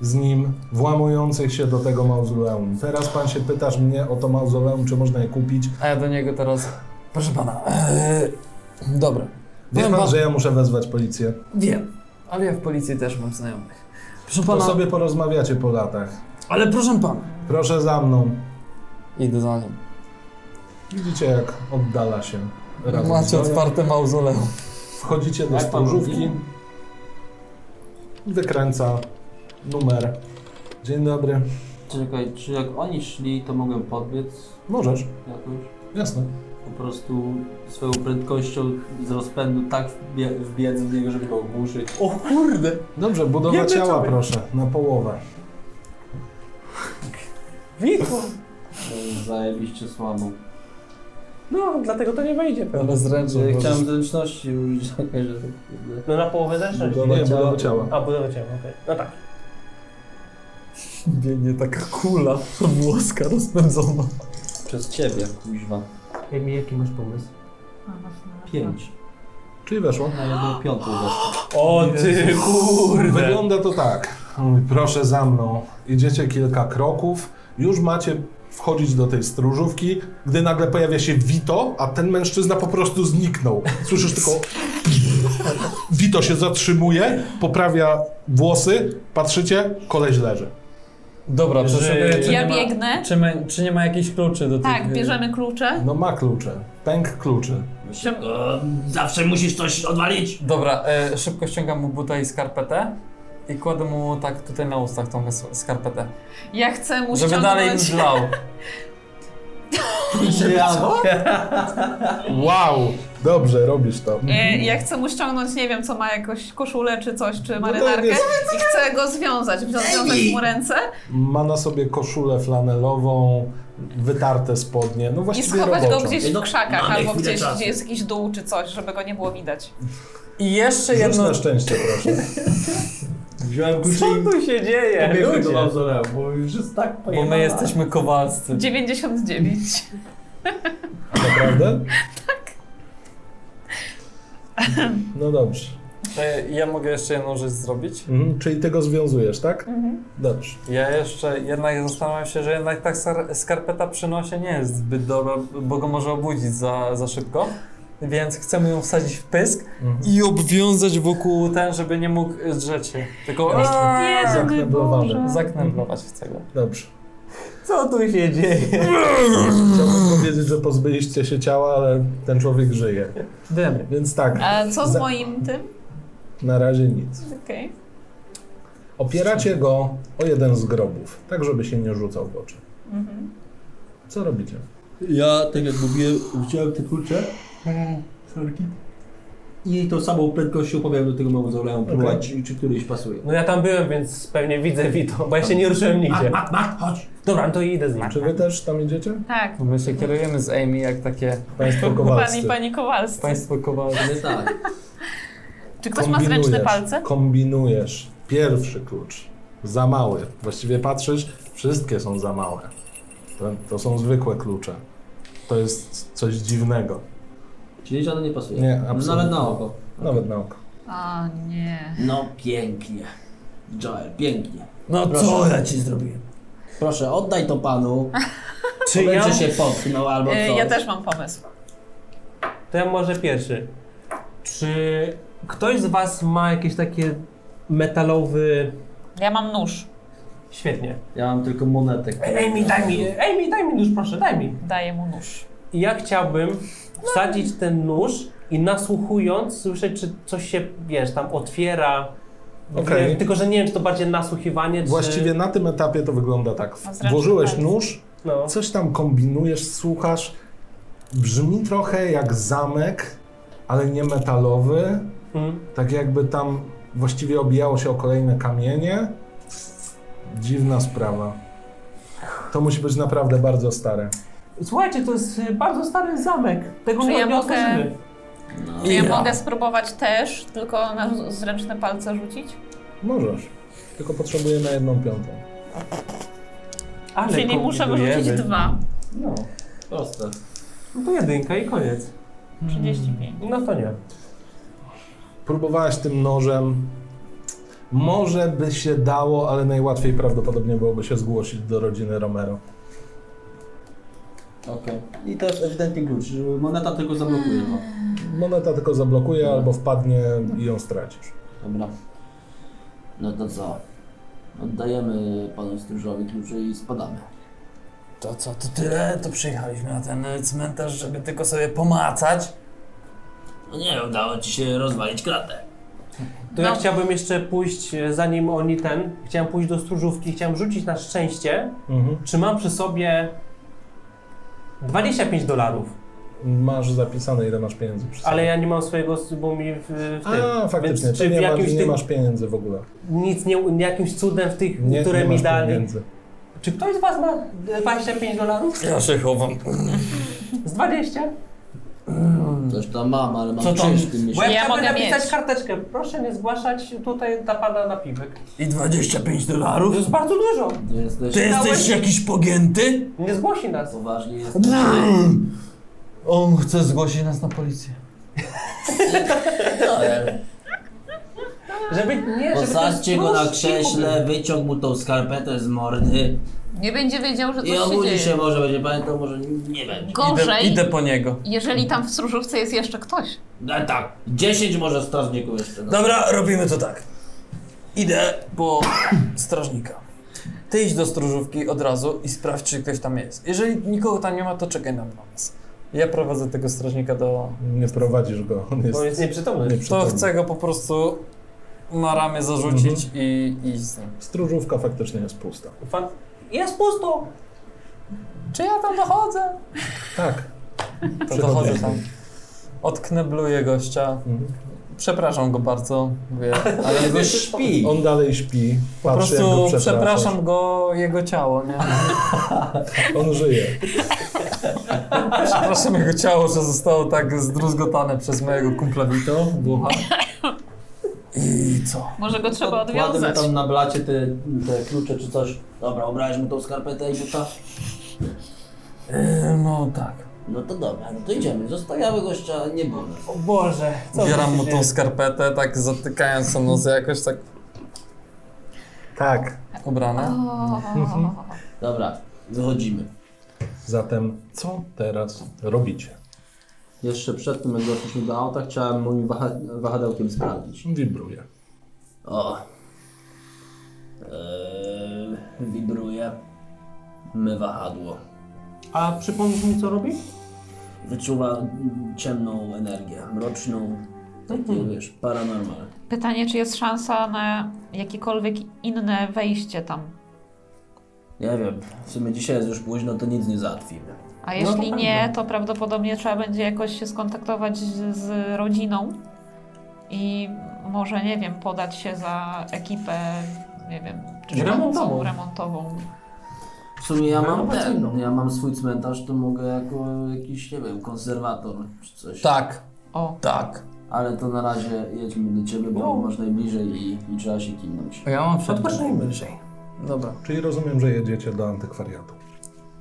Speaker 1: z nim włamujących się do tego mauzoleum. Teraz pan się pytasz mnie o to mauzoleum, czy można je kupić.
Speaker 7: A ja do niego teraz. Proszę pana. Eee, dobra,
Speaker 1: Wie
Speaker 7: Powiem
Speaker 1: pan,
Speaker 7: wam-
Speaker 1: że ja muszę wezwać policję.
Speaker 7: wiem, ale ja w policji też mam znajomych. Proszę
Speaker 1: To
Speaker 7: pana.
Speaker 1: sobie porozmawiacie po latach.
Speaker 7: Ale proszę pana.
Speaker 1: Proszę za mną.
Speaker 7: Idę za nim.
Speaker 1: Widzicie, jak oddala się. razem z
Speaker 7: Macie
Speaker 1: nią.
Speaker 7: otwarte mauzoleum.
Speaker 1: Wchodzicie do
Speaker 6: Jak pan
Speaker 1: stróżówki.
Speaker 6: mówi?
Speaker 1: Wykręca numer. Dzień dobry.
Speaker 6: Czekaj, czy jak oni szli, to mogłem podbiec
Speaker 1: Możesz,
Speaker 6: jakoś?
Speaker 1: jasne.
Speaker 6: Po prostu swoją prędkością z rozpędu tak wbie- wbiec w niego, żeby go ogłuszyć.
Speaker 5: O kurde!
Speaker 1: Dobrze, budowa
Speaker 5: Wiemy, co
Speaker 1: ciała
Speaker 5: my-
Speaker 1: proszę, na połowę.
Speaker 5: Wiko!
Speaker 6: To jest zajebiście słabo.
Speaker 5: No, dlatego to nie wejdzie pewnie.
Speaker 7: Ale zręczę.
Speaker 6: Ja chciałem zręczności użyć, okej, że tak kurde.
Speaker 5: No na połowę zeszłeś.
Speaker 1: Budowa
Speaker 6: Nie,
Speaker 1: ciała.
Speaker 6: budowa
Speaker 1: ciała.
Speaker 5: A, budowa ciała, okej. No tak.
Speaker 7: Biegnie taka kula włoska rozpędzona.
Speaker 6: Przez ciebie, kuźwa.
Speaker 5: Emil, jaki masz pomysł?
Speaker 6: Pięć. No,
Speaker 1: Czyli weszło.
Speaker 6: Na jedną piątą weszło.
Speaker 4: O ty kurde!
Speaker 1: Wygląda to tak. Mówi, Proszę za mną. Idziecie kilka kroków, już macie wchodzić do tej stróżówki, gdy nagle pojawia się Vito, a ten mężczyzna po prostu zniknął. Słyszysz tylko... Vito się zatrzymuje, poprawia włosy, patrzycie, koleś leży.
Speaker 7: Dobra,
Speaker 4: Że-
Speaker 7: przeszukuję, czy,
Speaker 3: Ja
Speaker 7: nie ma,
Speaker 3: biegnę.
Speaker 7: czy, ma, czy nie ma jakichś kluczy do tych...
Speaker 3: Tak, bierzemy klucze.
Speaker 1: No ma klucze. Pęk kluczy.
Speaker 6: Szybko, zawsze musisz coś odwalić.
Speaker 7: Dobra, e, szybko ściągam mu buta i skarpetę i kładę mu tak tutaj na ustach tą wes- skarpetę,
Speaker 3: Ja chcę mu
Speaker 7: żeby dalej
Speaker 3: ściągnąć...
Speaker 7: mdlał.
Speaker 1: Wow! Dobrze, robisz to.
Speaker 3: E, Ja chcę mu ściągnąć, nie wiem, co ma jakoś koszulę czy coś, czy
Speaker 1: No to
Speaker 3: marynarkę
Speaker 1: jest-
Speaker 3: i chcę go związać, wziąć- związać mu ręce
Speaker 1: Ma na sobie koszulę flanelową, wytarte spodnie, no
Speaker 3: i
Speaker 1: właściwie
Speaker 3: schować go
Speaker 1: roboczą.
Speaker 3: gdzieś w krzakach
Speaker 6: No, Mamy
Speaker 3: albo
Speaker 6: chwilę
Speaker 3: gdzieś,
Speaker 6: czasu.
Speaker 3: gdzie jest jakiś dół czy coś, żeby go nie było widać.
Speaker 7: I jeszcze
Speaker 1: Rzuć
Speaker 7: jedno...
Speaker 1: na szczęście, proszę.
Speaker 6: Wziąłem kluczy
Speaker 4: Co tu się dzieje?
Speaker 6: i
Speaker 4: Ludzie.
Speaker 6: do mauzoleum, bo już jest tak
Speaker 7: Bo
Speaker 6: pojemna.
Speaker 7: my jesteśmy kowalscy.
Speaker 1: No.
Speaker 3: 99.
Speaker 1: Naprawdę? tak. No dobrze.
Speaker 7: E, ja mogę jeszcze jedną rzecz zrobić?
Speaker 1: Mhm, czyli ty go związujesz, tak?
Speaker 3: Mhm.
Speaker 1: Dobrze.
Speaker 7: Ja jeszcze jednak zastanawiam się, że jednak ta sar- skarpeta przy nosie nie jest zbyt dobra, bo go może obudzić za, za szybko. Więc chcemy ją wsadzić w pysk
Speaker 1: Mhm.
Speaker 7: i obwiązać wokół ten, żeby nie mógł zdrzeć się. Tylko
Speaker 3: Nie,
Speaker 1: Zakneblowany.
Speaker 7: zaknęblować chce go.
Speaker 1: Dobrze.
Speaker 4: Co tu się dzieje?
Speaker 1: Chciałbym powiedzieć, że pozbyliście się ciała, ale ten człowiek żyje.
Speaker 7: Demy.
Speaker 1: Więc tak,
Speaker 3: A co z
Speaker 1: Za-
Speaker 3: moim tym?
Speaker 1: na razie nic.
Speaker 3: Okej.
Speaker 1: Opieracie go o jeden z grobów, tak żeby się nie rzucał w oczy.
Speaker 3: Mhm.
Speaker 1: Co robicie?
Speaker 6: Ja, tak jak mówiłem, wziąłem te klucze. Sorki. I tą samą prędkością pobiegłem do tego mauzoleum, próbować, czy, czy któryś pasuje.
Speaker 5: No ja tam byłem, więc pewnie widzę Wito, bo ja się nie ruszyłem nigdzie.
Speaker 6: Mat, mat, chodź!
Speaker 5: Dobra, no to idę z nim.
Speaker 1: Czy wy też tam idziecie?
Speaker 3: Tak.
Speaker 7: My się kierujemy z Amy jak takie
Speaker 1: Państwo
Speaker 3: Pan i
Speaker 1: Kowalscy.
Speaker 3: pani Kowalscy.
Speaker 7: państwo kowalscy.
Speaker 6: Ale tak.
Speaker 3: Czy ktoś ma zręczne
Speaker 1: Kombinujesz,
Speaker 3: palce?
Speaker 1: Kombinujesz. Pierwszy klucz. Za mały. Właściwie patrzysz, wszystkie są za małe. To, to są zwykłe klucze. To jest coś dziwnego.
Speaker 6: Czyli żaden nie pasuje.
Speaker 1: Nie, absolutnie.
Speaker 6: Nawet na oko.
Speaker 1: Nawet na oko.
Speaker 3: A nie.
Speaker 6: No pięknie. Joel, pięknie.
Speaker 4: No co
Speaker 6: Proszę.
Speaker 4: ja ci zrobiłem?
Speaker 6: Proszę, oddaj to panu.
Speaker 4: Czy ja?
Speaker 6: Będzie się potknął
Speaker 1: No
Speaker 6: albo
Speaker 3: E,
Speaker 6: coś.
Speaker 3: Ja też mam pomysł.
Speaker 5: To ja może pierwszy. Czy ktoś z was ma jakiś taki metalowy...
Speaker 3: Ja mam nóż.
Speaker 5: Świetnie.
Speaker 6: Ja mam tylko monetek.
Speaker 5: Ej mi, daj mi, ej mi, daj mi nóż, proszę, daj mi.
Speaker 3: Daję mu nóż.
Speaker 5: I ja chciałbym wsadzić ten nóż i nasłuchując słyszeć, czy coś się, wiesz, tam otwiera.
Speaker 1: Okej.
Speaker 5: Wiem, Tylko, że nie wiem, czy to bardziej nasłuchiwanie, czy...
Speaker 1: Właściwie na tym etapie to wygląda tak.
Speaker 3: zręczny
Speaker 1: Włożyłeś
Speaker 3: palec.
Speaker 1: nóż,
Speaker 5: No.
Speaker 1: coś tam kombinujesz, słuchasz. Brzmi trochę jak zamek, ale nie metalowy.
Speaker 5: Mm.
Speaker 1: Tak jakby tam właściwie obijało się o kolejne kamienie. Dziwna sprawa. To musi być naprawdę bardzo stare.
Speaker 5: Słuchajcie, to jest y, bardzo stary zamek. Tego
Speaker 3: Czy ja
Speaker 5: nie
Speaker 3: mogę-
Speaker 5: otworzymy.
Speaker 3: Czy ja mogę spróbować też, tylko na zręczne palce rzucić?
Speaker 1: Możesz. Tylko potrzebuję na jedną piątą.
Speaker 5: Ale
Speaker 3: Czyli muszę wyrzucić
Speaker 5: kombinujemy.
Speaker 3: dwa.
Speaker 6: No, proste.
Speaker 5: No to jedynka i koniec.
Speaker 3: 35.
Speaker 5: No to nie.
Speaker 1: Próbowałaś tym nożem. Może by się dało, ale najłatwiej prawdopodobnie byłoby się zgłosić do rodziny Romero.
Speaker 6: Okej. I to jest ewidentnie klucz. Moneta tylko zablokuje to.
Speaker 1: Moneta tylko zablokuje albo wpadnie i ją stracisz.
Speaker 6: Dobra. No to co? Oddajemy panu stróżowi kluczy i spadamy.
Speaker 4: To co, to tyle? To przyjechaliśmy na ten e, cmentarz, żeby tylko sobie pomacać.
Speaker 6: No nie, udało ci się rozwalić kratę.
Speaker 5: To ja
Speaker 3: No.
Speaker 5: chciałbym jeszcze pójść, e, zanim oni ten, chciałem pójść do stróżówki, chciałem rzucić na szczęście,
Speaker 1: Mhm.
Speaker 5: czy mam przy sobie 25 dolarów,
Speaker 1: Masz zapisane, ile masz pieniędzy przy sobie.
Speaker 5: ale ja nie mam swojego, s- bo mi w, w tym.
Speaker 1: A, faktycznie,
Speaker 5: Więc
Speaker 1: ty
Speaker 5: czy
Speaker 1: nie,
Speaker 5: w
Speaker 1: masz,
Speaker 5: jakimś
Speaker 1: nie
Speaker 5: tym,
Speaker 1: masz pieniędzy w ogóle.
Speaker 5: nic nie, jakimś cudem w tych,
Speaker 1: Nie,
Speaker 5: które
Speaker 1: nie
Speaker 5: mi
Speaker 1: masz
Speaker 5: dali.
Speaker 1: pieniędzy.
Speaker 5: Czy ktoś z was ma 25 dolarów?
Speaker 4: Ja się chowam.
Speaker 5: Z 20?
Speaker 6: Coś tam mam, ale mam
Speaker 4: Co tam?
Speaker 6: krzyż w tym
Speaker 5: Bo ja,
Speaker 6: miesiącu.
Speaker 3: Ja
Speaker 5: chciałbym
Speaker 3: mogę
Speaker 5: napisać
Speaker 3: mieć.
Speaker 5: karteczkę, proszę nie zgłaszać tutaj dla pana napiwek.
Speaker 4: I 25
Speaker 5: To
Speaker 4: dolarów?
Speaker 5: jest bardzo dużo,
Speaker 6: Ty jesteś
Speaker 4: Ty jesteś
Speaker 5: Dałeś-
Speaker 4: jakiś pogięty?
Speaker 5: nie zgłosi nas.
Speaker 6: poważnie jesteś.
Speaker 8: On chce zgłosić nas na policję.
Speaker 5: No. Żeby nie, żeby
Speaker 6: Posadźcie go na
Speaker 5: sprościł.
Speaker 6: krześle, wyciąg mu tą skarpetę z mordy
Speaker 3: Nie będzie wiedział, że coś
Speaker 6: i
Speaker 3: się dzieje.
Speaker 6: obudzi się może, będzie pamiętał, może nie będzie.
Speaker 3: Gorzej,
Speaker 7: Idę, idę po niego.
Speaker 3: jeżeli tam w stróżówce jest jeszcze ktoś.
Speaker 6: No tak, 10 może strażników jeszcze. No.
Speaker 7: Dobra, robimy to tak. Idę po strażnika. Ty idź do stróżówki od razu i sprawdź, czy ktoś tam jest. Jeżeli nikogo tam nie ma, to czekaj na nas. Ja prowadzę tego strażnika do...
Speaker 1: Nie prowadzisz go, on jest
Speaker 4: Bo jest nieprzytomny.
Speaker 7: To
Speaker 1: nieprzytomny.
Speaker 7: chcę go po prostu na ramię zarzucić i iść z nim.
Speaker 1: Stróżówka faktycznie jest pusta.
Speaker 4: Fan... Jest pusto!
Speaker 7: Czy ja tam dochodzę?
Speaker 1: Tak.
Speaker 7: To
Speaker 1: Przychodzę.
Speaker 7: dochodzę tam. Odknebluję gościa.
Speaker 1: Mhm.
Speaker 7: Przepraszam go bardzo. Mówię, ale jego...
Speaker 4: Jego śpi.
Speaker 1: On dalej śpi,
Speaker 7: Po
Speaker 1: patrzy jak go
Speaker 7: prostu
Speaker 1: przepraszasz.
Speaker 7: przepraszam go, jego ciało, nie?
Speaker 1: On żyje.
Speaker 7: Przepraszam jego ciało, że zostało tak zdruzgotane przez mojego kumpla Vito, Włocha. I co?
Speaker 3: Może go trzeba
Speaker 6: Kładę mu
Speaker 3: odwiązać.
Speaker 6: tam na blacie te, te klucze czy coś. Dobra, ubrałeś mu tą skarpetę i buta.
Speaker 7: E, No tak.
Speaker 6: No to dobra, no to idziemy. Zostawiamy gościa, nie było. nas.
Speaker 5: O Boże, co
Speaker 7: Ubieram
Speaker 5: wy
Speaker 7: mu
Speaker 5: się
Speaker 7: tą
Speaker 5: dzieje?
Speaker 7: skarpetę, tak zatykając tą nosy jakoś tak
Speaker 1: Tak.
Speaker 7: ubrane.
Speaker 3: O,
Speaker 6: Dobra, wychodzimy.
Speaker 1: Zatem co teraz robicie?
Speaker 6: Jeszcze przed tym, jak doszliśmy do auta, chciałem moim waha wahadełkiem sprawdzić.
Speaker 1: Wibruje.
Speaker 6: O. Eee, wibruje. My wahadło.
Speaker 5: A przypomnisz mi co robi?
Speaker 6: Wyczuwa mm, ciemną energię, mroczną, takie wiesz, paranormal.
Speaker 3: Pytanie, czy jest szansa na jakiekolwiek inne wejście tam?
Speaker 6: Nie wiem, w sumie dzisiaj jest już późno, to nic nie załatwimy.
Speaker 3: A jeśli nie, to prawdopodobnie trzeba będzie jakoś się skontaktować z, z rodziną i może, nie wiem, podać się za ekipę, nie wiem, czy
Speaker 5: Remontową.
Speaker 3: remontową.
Speaker 6: W sumie ja
Speaker 4: No,
Speaker 6: mam
Speaker 4: no.
Speaker 6: ten, ja mam swój cmentarz, to mogę jako jakiś, nie wiem, konserwator czy coś.
Speaker 7: Tak,
Speaker 3: O,
Speaker 7: tak.
Speaker 6: Ale to na razie jedźmy do ciebie,
Speaker 4: No.
Speaker 6: bo masz najbliżej i, i trzeba się kimnąć.
Speaker 7: Ja mam
Speaker 4: Odpocznijmy dzisiaj.
Speaker 7: Dobra.
Speaker 1: Czyli rozumiem, że jedziecie do antykwariatu.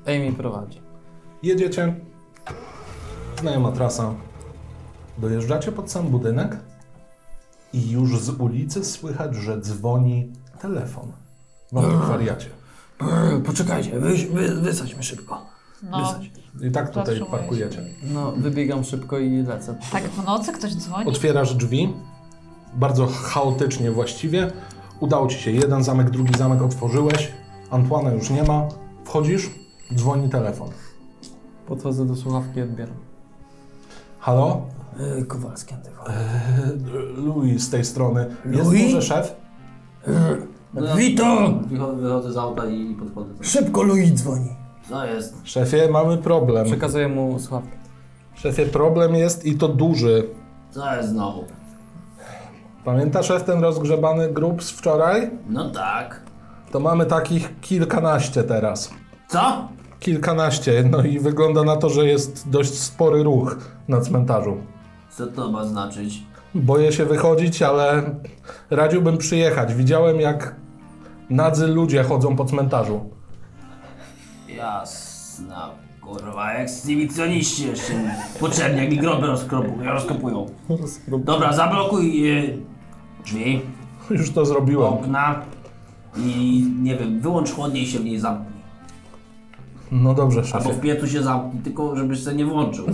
Speaker 7: Amy prowadzi.
Speaker 1: Jedziecie. Znajoma trasa. Dojeżdżacie pod sam budynek i już z ulicy słychać, że dzwoni telefon w antykwariacie.
Speaker 7: Brr, Poczekajcie, wy, wy, wysadźmy szybko.
Speaker 3: no,
Speaker 1: I tak tutaj
Speaker 3: Zatrzymuję się.
Speaker 1: parkujecie.
Speaker 7: No, wybiegam szybko i lecę.
Speaker 3: tak w nocy ktoś dzwoni?
Speaker 1: Otwierasz drzwi, bardzo chaotycznie właściwie. Udało ci się jeden zamek, drugi zamek otworzyłeś. Antoana już nie ma. Wchodzisz, dzwoni telefon.
Speaker 8: Podchodzę do słuchawki i odbieram.
Speaker 1: Halo?
Speaker 7: E, Kowalski antywa.
Speaker 1: Louis z tej strony. Jest
Speaker 7: Louis?
Speaker 1: może szef?
Speaker 4: no.
Speaker 7: Vito!
Speaker 6: Wychodzę, wychodzę z auta i podchodzę.
Speaker 7: Szybko Louis dzwoni.
Speaker 6: Co jest?
Speaker 1: Szefie, mamy problem.
Speaker 8: Przekazuję mu słuchawkę.
Speaker 1: Szefie, problem jest i to duży.
Speaker 6: Co jest znowu?
Speaker 1: Pamiętasz szef ten rozgrzebany grób z wczoraj?
Speaker 6: No tak.
Speaker 1: To mamy takich kilkanaście teraz.
Speaker 6: Co?
Speaker 1: Kilkanaście, no i wygląda na to, że jest dość spory ruch na cmentarzu.
Speaker 6: Co to ma znaczyć?
Speaker 1: Boję się wychodzić, ale radziłbym przyjechać. Widziałem, jak nadzy ludzie chodzą po cmentarzu.
Speaker 6: Jasna kurwa, ekshibicjoniści jeszcze mi potrzebni, jak mi groby rozkropują, rozkopują. Dobra, zablokuj y, drzwi,
Speaker 1: Już to zrobiłem.
Speaker 6: okna i nie wiem, wyłącz chłodnię i się w niej zamknij.
Speaker 1: No dobrze,
Speaker 6: Albo
Speaker 1: szefie.
Speaker 6: w piecu się zamknij, tylko żebyś się nie włączył.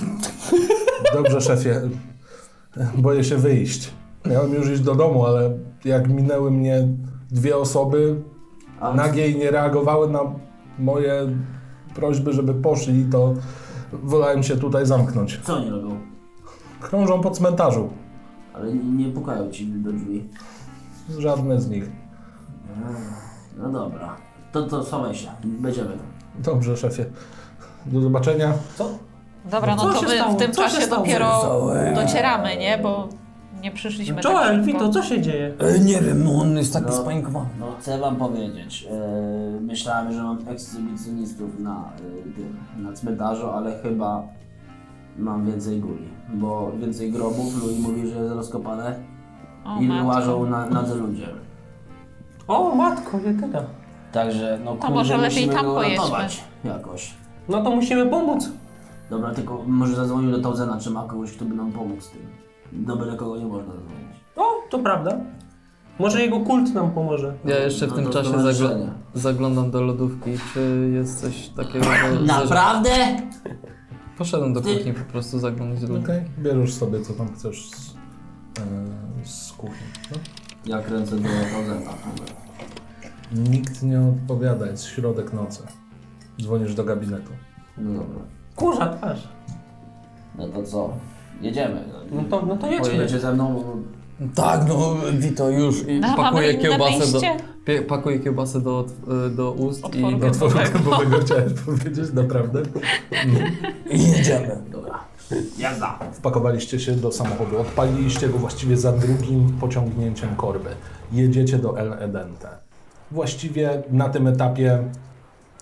Speaker 1: Dobrze, szefie. Boję się wyjść. Miałem już iść do domu, ale jak minęły mnie dwie osoby,
Speaker 6: A
Speaker 1: nagie i nie reagowały na moje prośby, żeby poszli, to wolałem się tutaj zamknąć.
Speaker 6: co oni robią?
Speaker 1: Krążą po cmentarzu.
Speaker 6: Ale nie pukają ci do drzwi.
Speaker 1: Żadne z nich.
Speaker 6: No dobra, to to schowaj się, będziemy.
Speaker 1: Dobrze, szefie. Do zobaczenia.
Speaker 3: Dobra, no
Speaker 5: Co
Speaker 3: to
Speaker 5: się
Speaker 3: my
Speaker 5: stało?
Speaker 3: w tym
Speaker 5: Co się
Speaker 3: czasie
Speaker 5: stało?
Speaker 3: dopiero docieramy, nie? Bo nie przyszliśmy
Speaker 5: Joel,
Speaker 3: tak szybko.
Speaker 5: Vito, co się dzieje?
Speaker 7: E, nie wiem, no on jest taki
Speaker 6: No.
Speaker 7: spanikowany.
Speaker 6: No chcę wam powiedzieć, e, myślałem, że mam ekshibicjonistów na, yy, tym, na cmentarzu, ale chyba mam więcej guli, bo więcej grobów, Louis mówi, że jest rozkopane
Speaker 3: O,
Speaker 6: i
Speaker 3: matko.
Speaker 6: łażą na, na te ludzie.
Speaker 5: O matko, jedyna.
Speaker 6: Także no
Speaker 3: może lepiej
Speaker 6: musimy
Speaker 3: tam
Speaker 6: go
Speaker 3: pojedźmy.
Speaker 6: ratować jakoś.
Speaker 5: No to musimy pomóc.
Speaker 9: Dobra, tylko może zadzwonił do Tauzena, czy ma kogoś, kto by nam pomógł z tym. Do byle kogo nie można zadzwonić.
Speaker 5: O, to prawda. Może jego kult nam pomoże.
Speaker 7: Ja jeszcze w
Speaker 9: No
Speaker 7: tym
Speaker 9: to
Speaker 7: czasie zagl-
Speaker 9: stowarzyszenie.
Speaker 7: zaglądam do lodówki, czy jest coś takiego, że... że...
Speaker 9: Naprawdę?
Speaker 7: Poszedłem do kuchni po prostu zaglądać do
Speaker 5: No
Speaker 1: Okej,
Speaker 7: lodówki.
Speaker 1: bierzesz sobie co tam chcesz z, e, z kuchni. No.
Speaker 9: Ja kręcę do Tauzena. Dobra.
Speaker 1: Nikt nie odpowiada, jest środek nocy. Dzwonisz do gabinetu.
Speaker 9: No dobra.
Speaker 5: Kurza twarz.
Speaker 9: No to co? Jedziemy.
Speaker 5: No to, no to jedźmy.
Speaker 9: Pojedziecie ze mną?
Speaker 4: Tak, no Wito już i
Speaker 3: No,
Speaker 7: Pakuję
Speaker 3: mamy inne
Speaker 7: kiełbasę do,
Speaker 3: wyjście?
Speaker 7: pie- pakuję kiełbasę do, do ust
Speaker 3: Otworu.
Speaker 7: i
Speaker 3: No
Speaker 1: Otworzę
Speaker 3: tak.
Speaker 1: gębowego chciałem powiedzieć, naprawdę.
Speaker 4: i jedziemy.
Speaker 9: Dobra. Jazda.
Speaker 1: Wpakowaliście się do samochodu, odpaliliście go właściwie za drugim pociągnięciem korby. Jedziecie do El Edente. Właściwie na tym etapie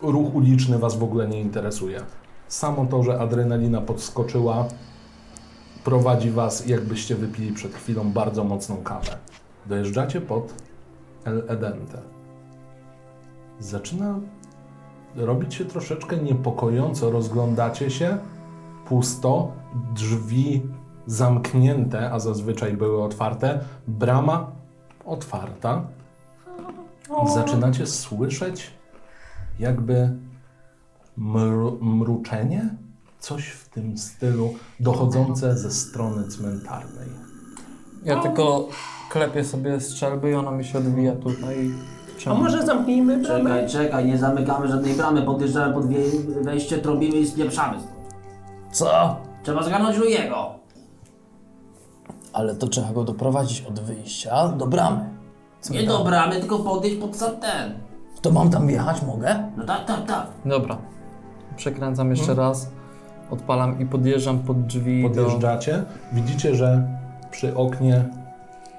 Speaker 1: ruch uliczny Was w ogóle nie interesuje. Samo to, że adrenalina podskoczyła, prowadzi Was, jakbyście wypili przed chwilą bardzo mocną kawę. Dojeżdżacie pod El Edente. Zaczyna robić się troszeczkę niepokojąco. Rozglądacie się, pusto, drzwi zamknięte, a zazwyczaj były otwarte, brama otwarta. Zaczynacie słyszeć jakby mru mruczenie, coś w tym stylu, dochodzące ze strony cmentarnej.
Speaker 7: Ja tylko klepię sobie strzelby i ona mi się odbija tutaj.
Speaker 5: A może zamknijmy bramę?
Speaker 9: Czekaj, czekaj, nie zamykamy żadnej bramy, podjeżdżamy pod wie- wejście, trobimy i spieprzamy stąd.
Speaker 4: Co?
Speaker 9: Trzeba zgarnąć Louiego.
Speaker 4: Ale to trzeba go doprowadzić od wyjścia do bramy.
Speaker 9: Nie do bramy, tylko podejść pod sam ten.
Speaker 4: To mam tam wjechać, mogę?
Speaker 9: No tak, tak, tak.
Speaker 7: Dobra. Przekręcam jeszcze raz, odpalam i podjeżdżam pod drzwi do...
Speaker 1: Podjeżdżacie, widzicie, że przy oknie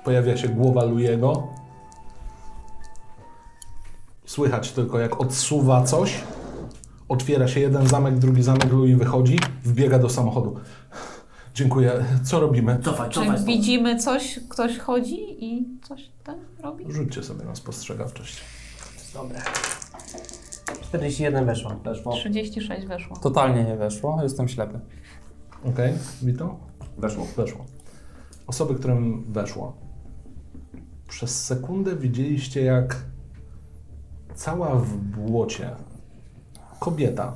Speaker 1: pojawia się głowa Luiego. Słychać tylko, jak odsuwa coś. Otwiera się jeden zamek, drugi zamek, Louis wychodzi, wbiega do samochodu. Dziękuję. Co robimy?
Speaker 9: Cofaj,
Speaker 3: Czy
Speaker 9: cofaj stąd.
Speaker 3: widzimy coś, ktoś chodzi i coś tam robi?
Speaker 1: Rzućcie sobie na spostrzegawczość.
Speaker 5: 41
Speaker 4: No.
Speaker 5: weszła.
Speaker 7: No.
Speaker 9: Weszło.
Speaker 3: 36 weszło.
Speaker 7: Totalnie nie weszło, jestem ślepy.
Speaker 1: Okej, Wito? Weszło. Weszło. Osoby, którym weszło. Przez sekundę widzieliście, jak cała w błocie kobieta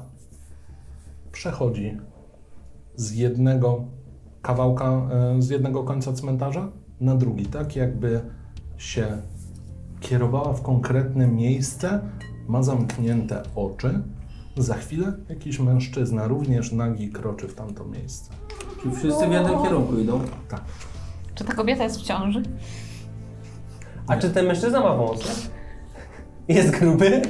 Speaker 1: przechodzi z jednego kawałka, e, z jednego końca cmentarza na drugi, tak jakby się kierowała w konkretne miejsce, ma zamknięte oczy. Za chwilę jakiś mężczyzna, również nagi, kroczy w tamto miejsce.
Speaker 6: Czy wszyscy w
Speaker 4: No.
Speaker 6: jednym kierunku idą?
Speaker 3: Czy ta kobieta jest w ciąży?
Speaker 5: A czy ten mężczyzna ma wąsy? Jest gruby?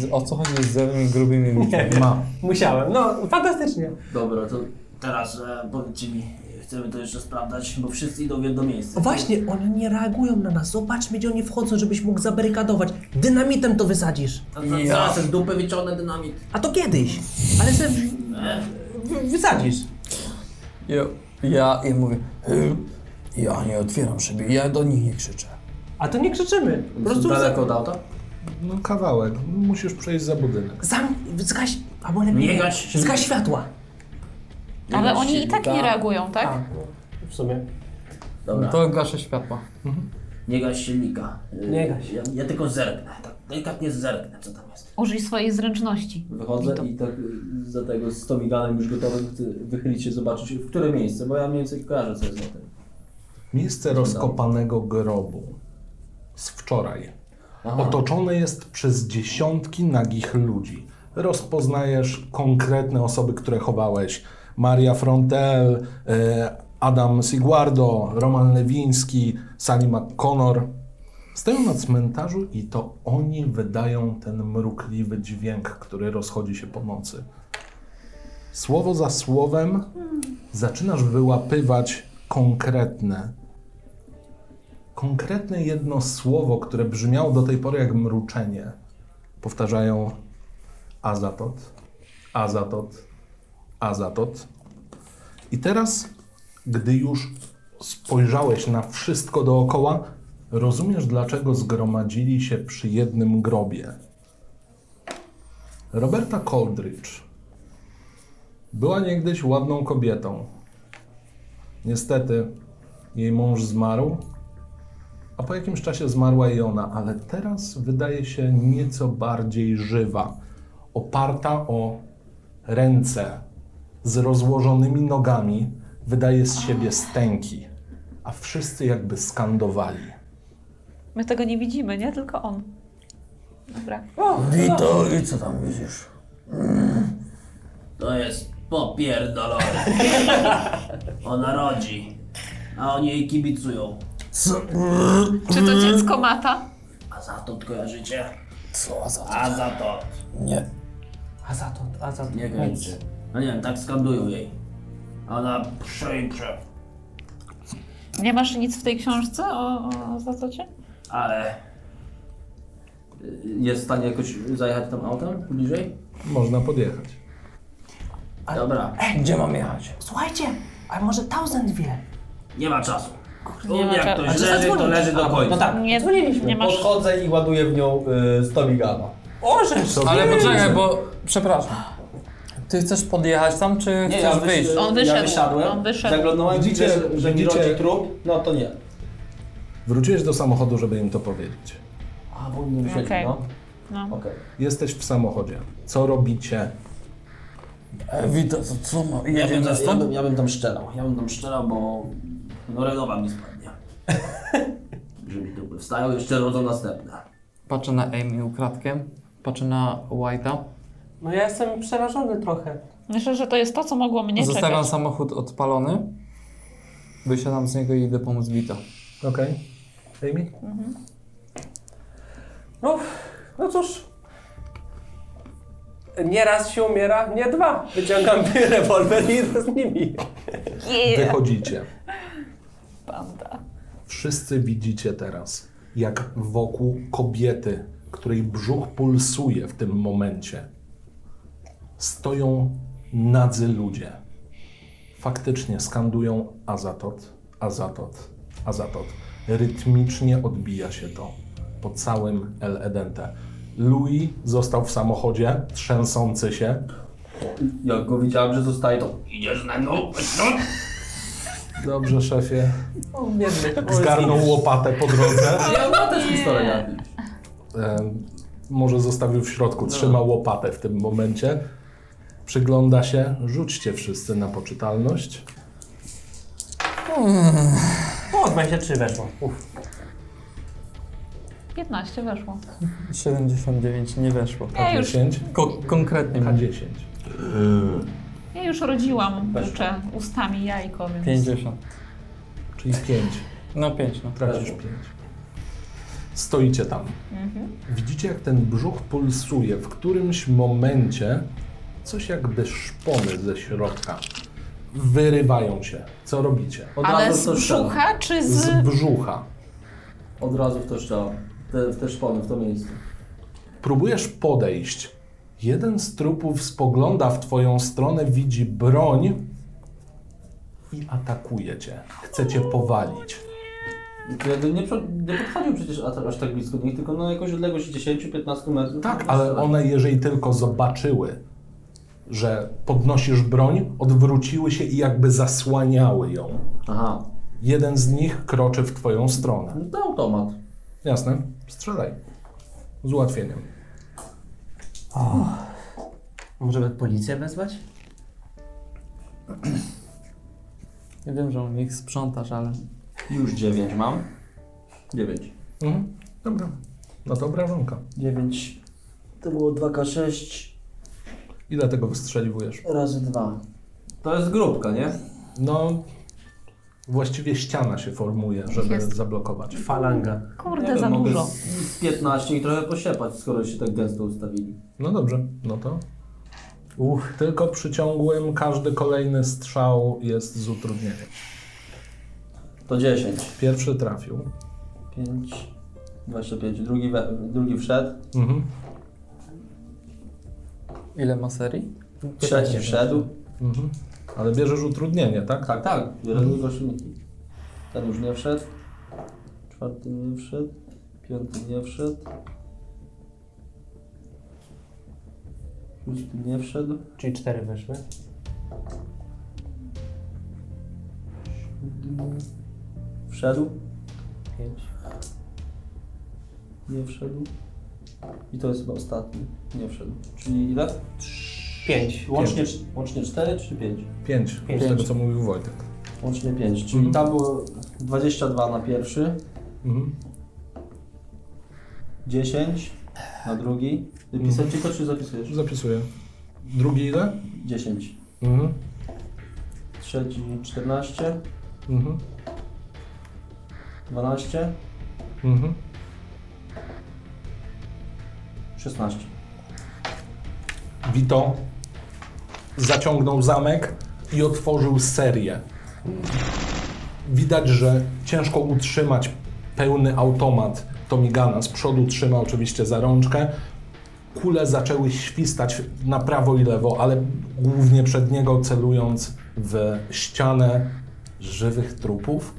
Speaker 7: Z, o co chodzi z tymi grubymi ludźmi?
Speaker 1: Ma.
Speaker 5: Musiałem. No, fantastycznie.
Speaker 9: Dobra, to teraz e, powiedzcie mi, chcemy to jeszcze sprawdzać, bo wszyscy idą w jedno miejsce.
Speaker 5: Właśnie, one nie reagują na nas. Zobaczmy, gdzie oni wchodzą, żebyś mógł zabarykadować. Dynamitem to wysadzisz.
Speaker 9: A za- Zaraz z dupy wyciągnę dynamit.
Speaker 5: A to kiedyś. Ale se w- w- wysadzisz.
Speaker 4: Ja, ja, ja mówię, "Hy, ja nie otwieram szyby, ja do nich nie krzyczę.
Speaker 5: A to nie krzyczymy. Po prostu
Speaker 9: daleko
Speaker 5: za-
Speaker 9: od auta?
Speaker 1: No kawałek. Musisz przejść za budynek.
Speaker 5: zam... zgaś... Albo lepiej...
Speaker 9: Nie gaś się.
Speaker 5: Zgaś światła.
Speaker 3: Ale oni i tak nie reagują, tak?
Speaker 5: W sumie.
Speaker 9: Dobra,
Speaker 7: To gaszę światła.
Speaker 9: nie gaś silnika. Y,
Speaker 5: Nie gaś.
Speaker 9: Ja, ja tylko zerknę, tak delikatnie zerknę, co tam jest.
Speaker 3: Użyj swojej zręczności.
Speaker 6: Wychodzę i tak y, za tego z Tomiganem już gotowym chcę wychylić się, zobaczyć w które miejsce, bo ja mniej więcej kojarzę co jest na tym.
Speaker 1: Miejsce rozkopanego grobu z wczoraj. Otoczone jest przez dziesiątki nagich ludzi. Rozpoznajesz konkretne osoby, które chowałeś. Maria Frontel, e, Adam Siguardo, Roman Lewiński, Sally McConnor. Stoją na cmentarzu i to oni wydają ten mrukliwy dźwięk, który rozchodzi się po nocy. Słowo za słowem zaczynasz wyłapywać konkretne, konkretne jedno słowo, które brzmiało do tej pory jak mruczenie. Powtarzają azatot, azatot, azatot. I teraz, gdy już spojrzałeś na wszystko dookoła, rozumiesz, dlaczego zgromadzili się przy jednym grobie. Roberta Coldridge Była niegdyś ładną kobietą. Niestety jej mąż zmarł, a po jakimś czasie zmarła i ona, ale teraz wydaje się nieco bardziej żywa, oparta o ręce z rozłożonymi nogami, wydaje z siebie stęki, a wszyscy jakby skandowali.
Speaker 3: My tego nie widzimy, nie? Tylko on. Dobra.
Speaker 4: Wito, i co tam widzisz?
Speaker 9: To jest popierdolone. Ona rodzi, a oni jej kibicują.
Speaker 3: Czy
Speaker 7: Mm.
Speaker 3: to dziecko mata?
Speaker 9: A za to kojarzycie?
Speaker 4: Co za...
Speaker 9: A za to.
Speaker 4: Nie.
Speaker 5: A za to, a za to.
Speaker 9: Nie kojarzycie. No nie wiem, tak skandują jej. A Ona prze i prze.
Speaker 3: Nie masz nic w tej książce o, o Zatocie?
Speaker 9: Ale... y, Jest w stanie jakoś zajechać tam autem bliżej?
Speaker 1: Można podjechać.
Speaker 9: Dobra,
Speaker 4: Gdzie mam jechać?
Speaker 5: Słuchajcie, a może Thousand wie?
Speaker 9: nie ma czasu.
Speaker 3: nie
Speaker 9: U mnie
Speaker 3: ma
Speaker 9: jak
Speaker 3: czasu. A
Speaker 9: ktoś
Speaker 3: czy
Speaker 9: leży, to
Speaker 3: zadzwonić?
Speaker 9: leży do końca.
Speaker 5: No tak.
Speaker 3: Nie, nie masz.
Speaker 6: Podchodzę i ładuję w nią y, Stomigama.
Speaker 5: O, rzecz!
Speaker 4: Ale poczekaj, bo... Przepraszam. Ty chcesz podjechać tam, czy
Speaker 6: Nie,
Speaker 4: chcesz
Speaker 6: ja
Speaker 4: wyjść?
Speaker 6: wyś-
Speaker 3: On wyszedł,
Speaker 6: Ja wysiadłem,
Speaker 3: on wyszedł.
Speaker 6: Zaglądałem, widzę,
Speaker 1: Widzicie-
Speaker 6: że, że mi
Speaker 1: widzicie-
Speaker 6: rodzi trup. No to nie.
Speaker 1: Wróciłeś do samochodu, żeby im to powiedzieć.
Speaker 6: A, bo nie wysiedli,
Speaker 3: Okej.
Speaker 6: no.
Speaker 3: No.
Speaker 6: Okej.
Speaker 1: Jesteś w samochodzie. Co robicie?
Speaker 4: E, Wito, to co ma?
Speaker 9: Ja bym,
Speaker 4: Jedziemy
Speaker 9: ja,
Speaker 4: stąd?
Speaker 9: bym, ja bym tam szczelał, ja bym tam szczelał, bo no renowa mi spadnie. Że mi dupy wstają, jeszcze rodzą następne.
Speaker 4: Patrzę na Amy ukradkiem, patrzę na White'a.
Speaker 5: No ja jestem przerażony trochę.
Speaker 3: Myślę, że to jest to, co mogło mnie
Speaker 4: Zostawiam
Speaker 3: czekać.
Speaker 4: samochód odpalony, wysiadam z niego i idę pomóc Wito.
Speaker 1: Okej. Amy?
Speaker 5: No, no cóż. Nie raz się umiera, nie dwa. Wyciągam rewolwer i idę z nimi.
Speaker 3: Yeah.
Speaker 1: Wychodzicie.
Speaker 3: Banda.
Speaker 1: Wszyscy widzicie teraz, jak wokół kobiety, której brzuch pulsuje w tym momencie, stoją nadzy ludzie. Faktycznie skandują Azatot, Azatot, Azatot. Rytmicznie odbija się to po całym El Edente. Louis został w samochodzie, trzęsący się.
Speaker 6: Jak go widziałem, że zostaje to...
Speaker 9: Idziesz ze mną?
Speaker 1: Dobrze, szefie.
Speaker 5: O, biedny.
Speaker 1: Zgarnął łopatę po drodze.
Speaker 6: Ja ma też pistolet. ja.
Speaker 1: Em, może zostawił w
Speaker 3: No.
Speaker 1: środku, trzyma łopatę w tym momencie. Przygląda się, rzućcie wszyscy na poczytalność.
Speaker 5: O, 23 weszło. Uf.
Speaker 3: 15 weszło.
Speaker 4: 79, nie weszło.
Speaker 1: Tak.
Speaker 3: Ja już,
Speaker 1: K10,
Speaker 4: Ko- konkretnie mówię.
Speaker 1: K10.
Speaker 3: ja już rodziłam kurczę, ustami jajko, więc
Speaker 4: 50.
Speaker 1: Czyli 5.
Speaker 4: No 5, no.
Speaker 1: Tracisz 5. Stoicie tam.
Speaker 3: Mhm.
Speaker 1: Widzicie, jak ten brzuch pulsuje. W którymś momencie coś jakby szpony ze środka wyrywają się. Co robicie?
Speaker 6: Od
Speaker 3: Ale
Speaker 6: razu
Speaker 3: z
Speaker 6: w to strzelam.
Speaker 3: brzucha czy z...
Speaker 1: Z brzucha.
Speaker 6: Od razu w to strzelam. Te, w te szpony, w to miejsce.
Speaker 1: Próbujesz podejść. Jeden z trupów spogląda w twoją stronę, widzi broń i atakuje cię. Chce cię powalić.
Speaker 6: Ja bym nie, prze- nie podchodził przecież a- aż tak blisko do nich, tylko no jakąś odległość 10-15 metrów.
Speaker 1: Tak, ale one, jeżeli tylko zobaczyły, że podnosisz broń, odwróciły się i jakby zasłaniały ją.
Speaker 6: Aha.
Speaker 1: Jeden z nich kroczy w twoją stronę.
Speaker 6: No to automat.
Speaker 1: Jasne? Strzelaj. Z ułatwieniem.
Speaker 2: Możemy policję wezwać?
Speaker 4: Ja wiem, że u nich sprzątasz, ale...
Speaker 6: Już 9 mam. 9.
Speaker 1: Mhm. Dobra. No to obrażonka.
Speaker 9: 9. To było 2K6
Speaker 1: Ile tego wystrzeliwujesz?
Speaker 9: razy 2.
Speaker 6: To jest grupka, nie?
Speaker 1: No, właściwie ściana się formuje, żeby
Speaker 3: Jest.
Speaker 1: zablokować.
Speaker 5: Falanga.
Speaker 3: Kurde,
Speaker 6: nie
Speaker 3: za
Speaker 6: wiem, mogę
Speaker 3: dużo.
Speaker 6: z- Z 15 i trochę posiepać, skoro się tak gęsto ustawili.
Speaker 1: No dobrze, no to. Uch. Tylko przy ciągłym każdy kolejny strzał jest z utrudnieniem.
Speaker 6: To 10.
Speaker 1: Pierwszy trafił.
Speaker 6: 5, 25. Drugi, we, drugi wszedł.
Speaker 1: Mhm.
Speaker 4: Ile ma serii?
Speaker 6: Trzeci wszedł.
Speaker 1: Mhm. Ale bierzesz utrudnienie, tak?
Speaker 6: Tak, tak. Wielu goszynniki. Ten już nie wszedł. Czwarty nie wszedł. Piąty nie wszedł. Szósty nie wszedł.
Speaker 5: Czyli 4 weszły.
Speaker 6: Wszedł. Pięć. Nie wszedł. I to jest chyba ostatni. Nie wszedł. Czyli ile?
Speaker 5: Pięć.
Speaker 6: Łącznie, cz- łącznie 4 czy 5?
Speaker 1: Pięć,
Speaker 5: Pięć.
Speaker 1: z tego co mówił Wojtek.
Speaker 6: Łącznie 5, czyli tam było 22 na pierwszy,
Speaker 1: Mhm.
Speaker 6: 10 na drugi.
Speaker 1: Mhm.
Speaker 6: Wypisać ci to czy zapisujesz?
Speaker 1: Zapisuję. Drugi ile?
Speaker 6: 10.
Speaker 1: Mhm.
Speaker 6: Trzeci 14,
Speaker 1: Mhm.
Speaker 6: 12,
Speaker 1: Mhm.
Speaker 6: 16.
Speaker 1: Vito zaciągnął zamek i otworzył serię. Widać, że ciężko utrzymać pełny automat Tomigana. Z przodu trzyma oczywiście za rączkę. Kule zaczęły świstać na prawo i lewo, ale głównie przed niego celując w ścianę żywych trupów.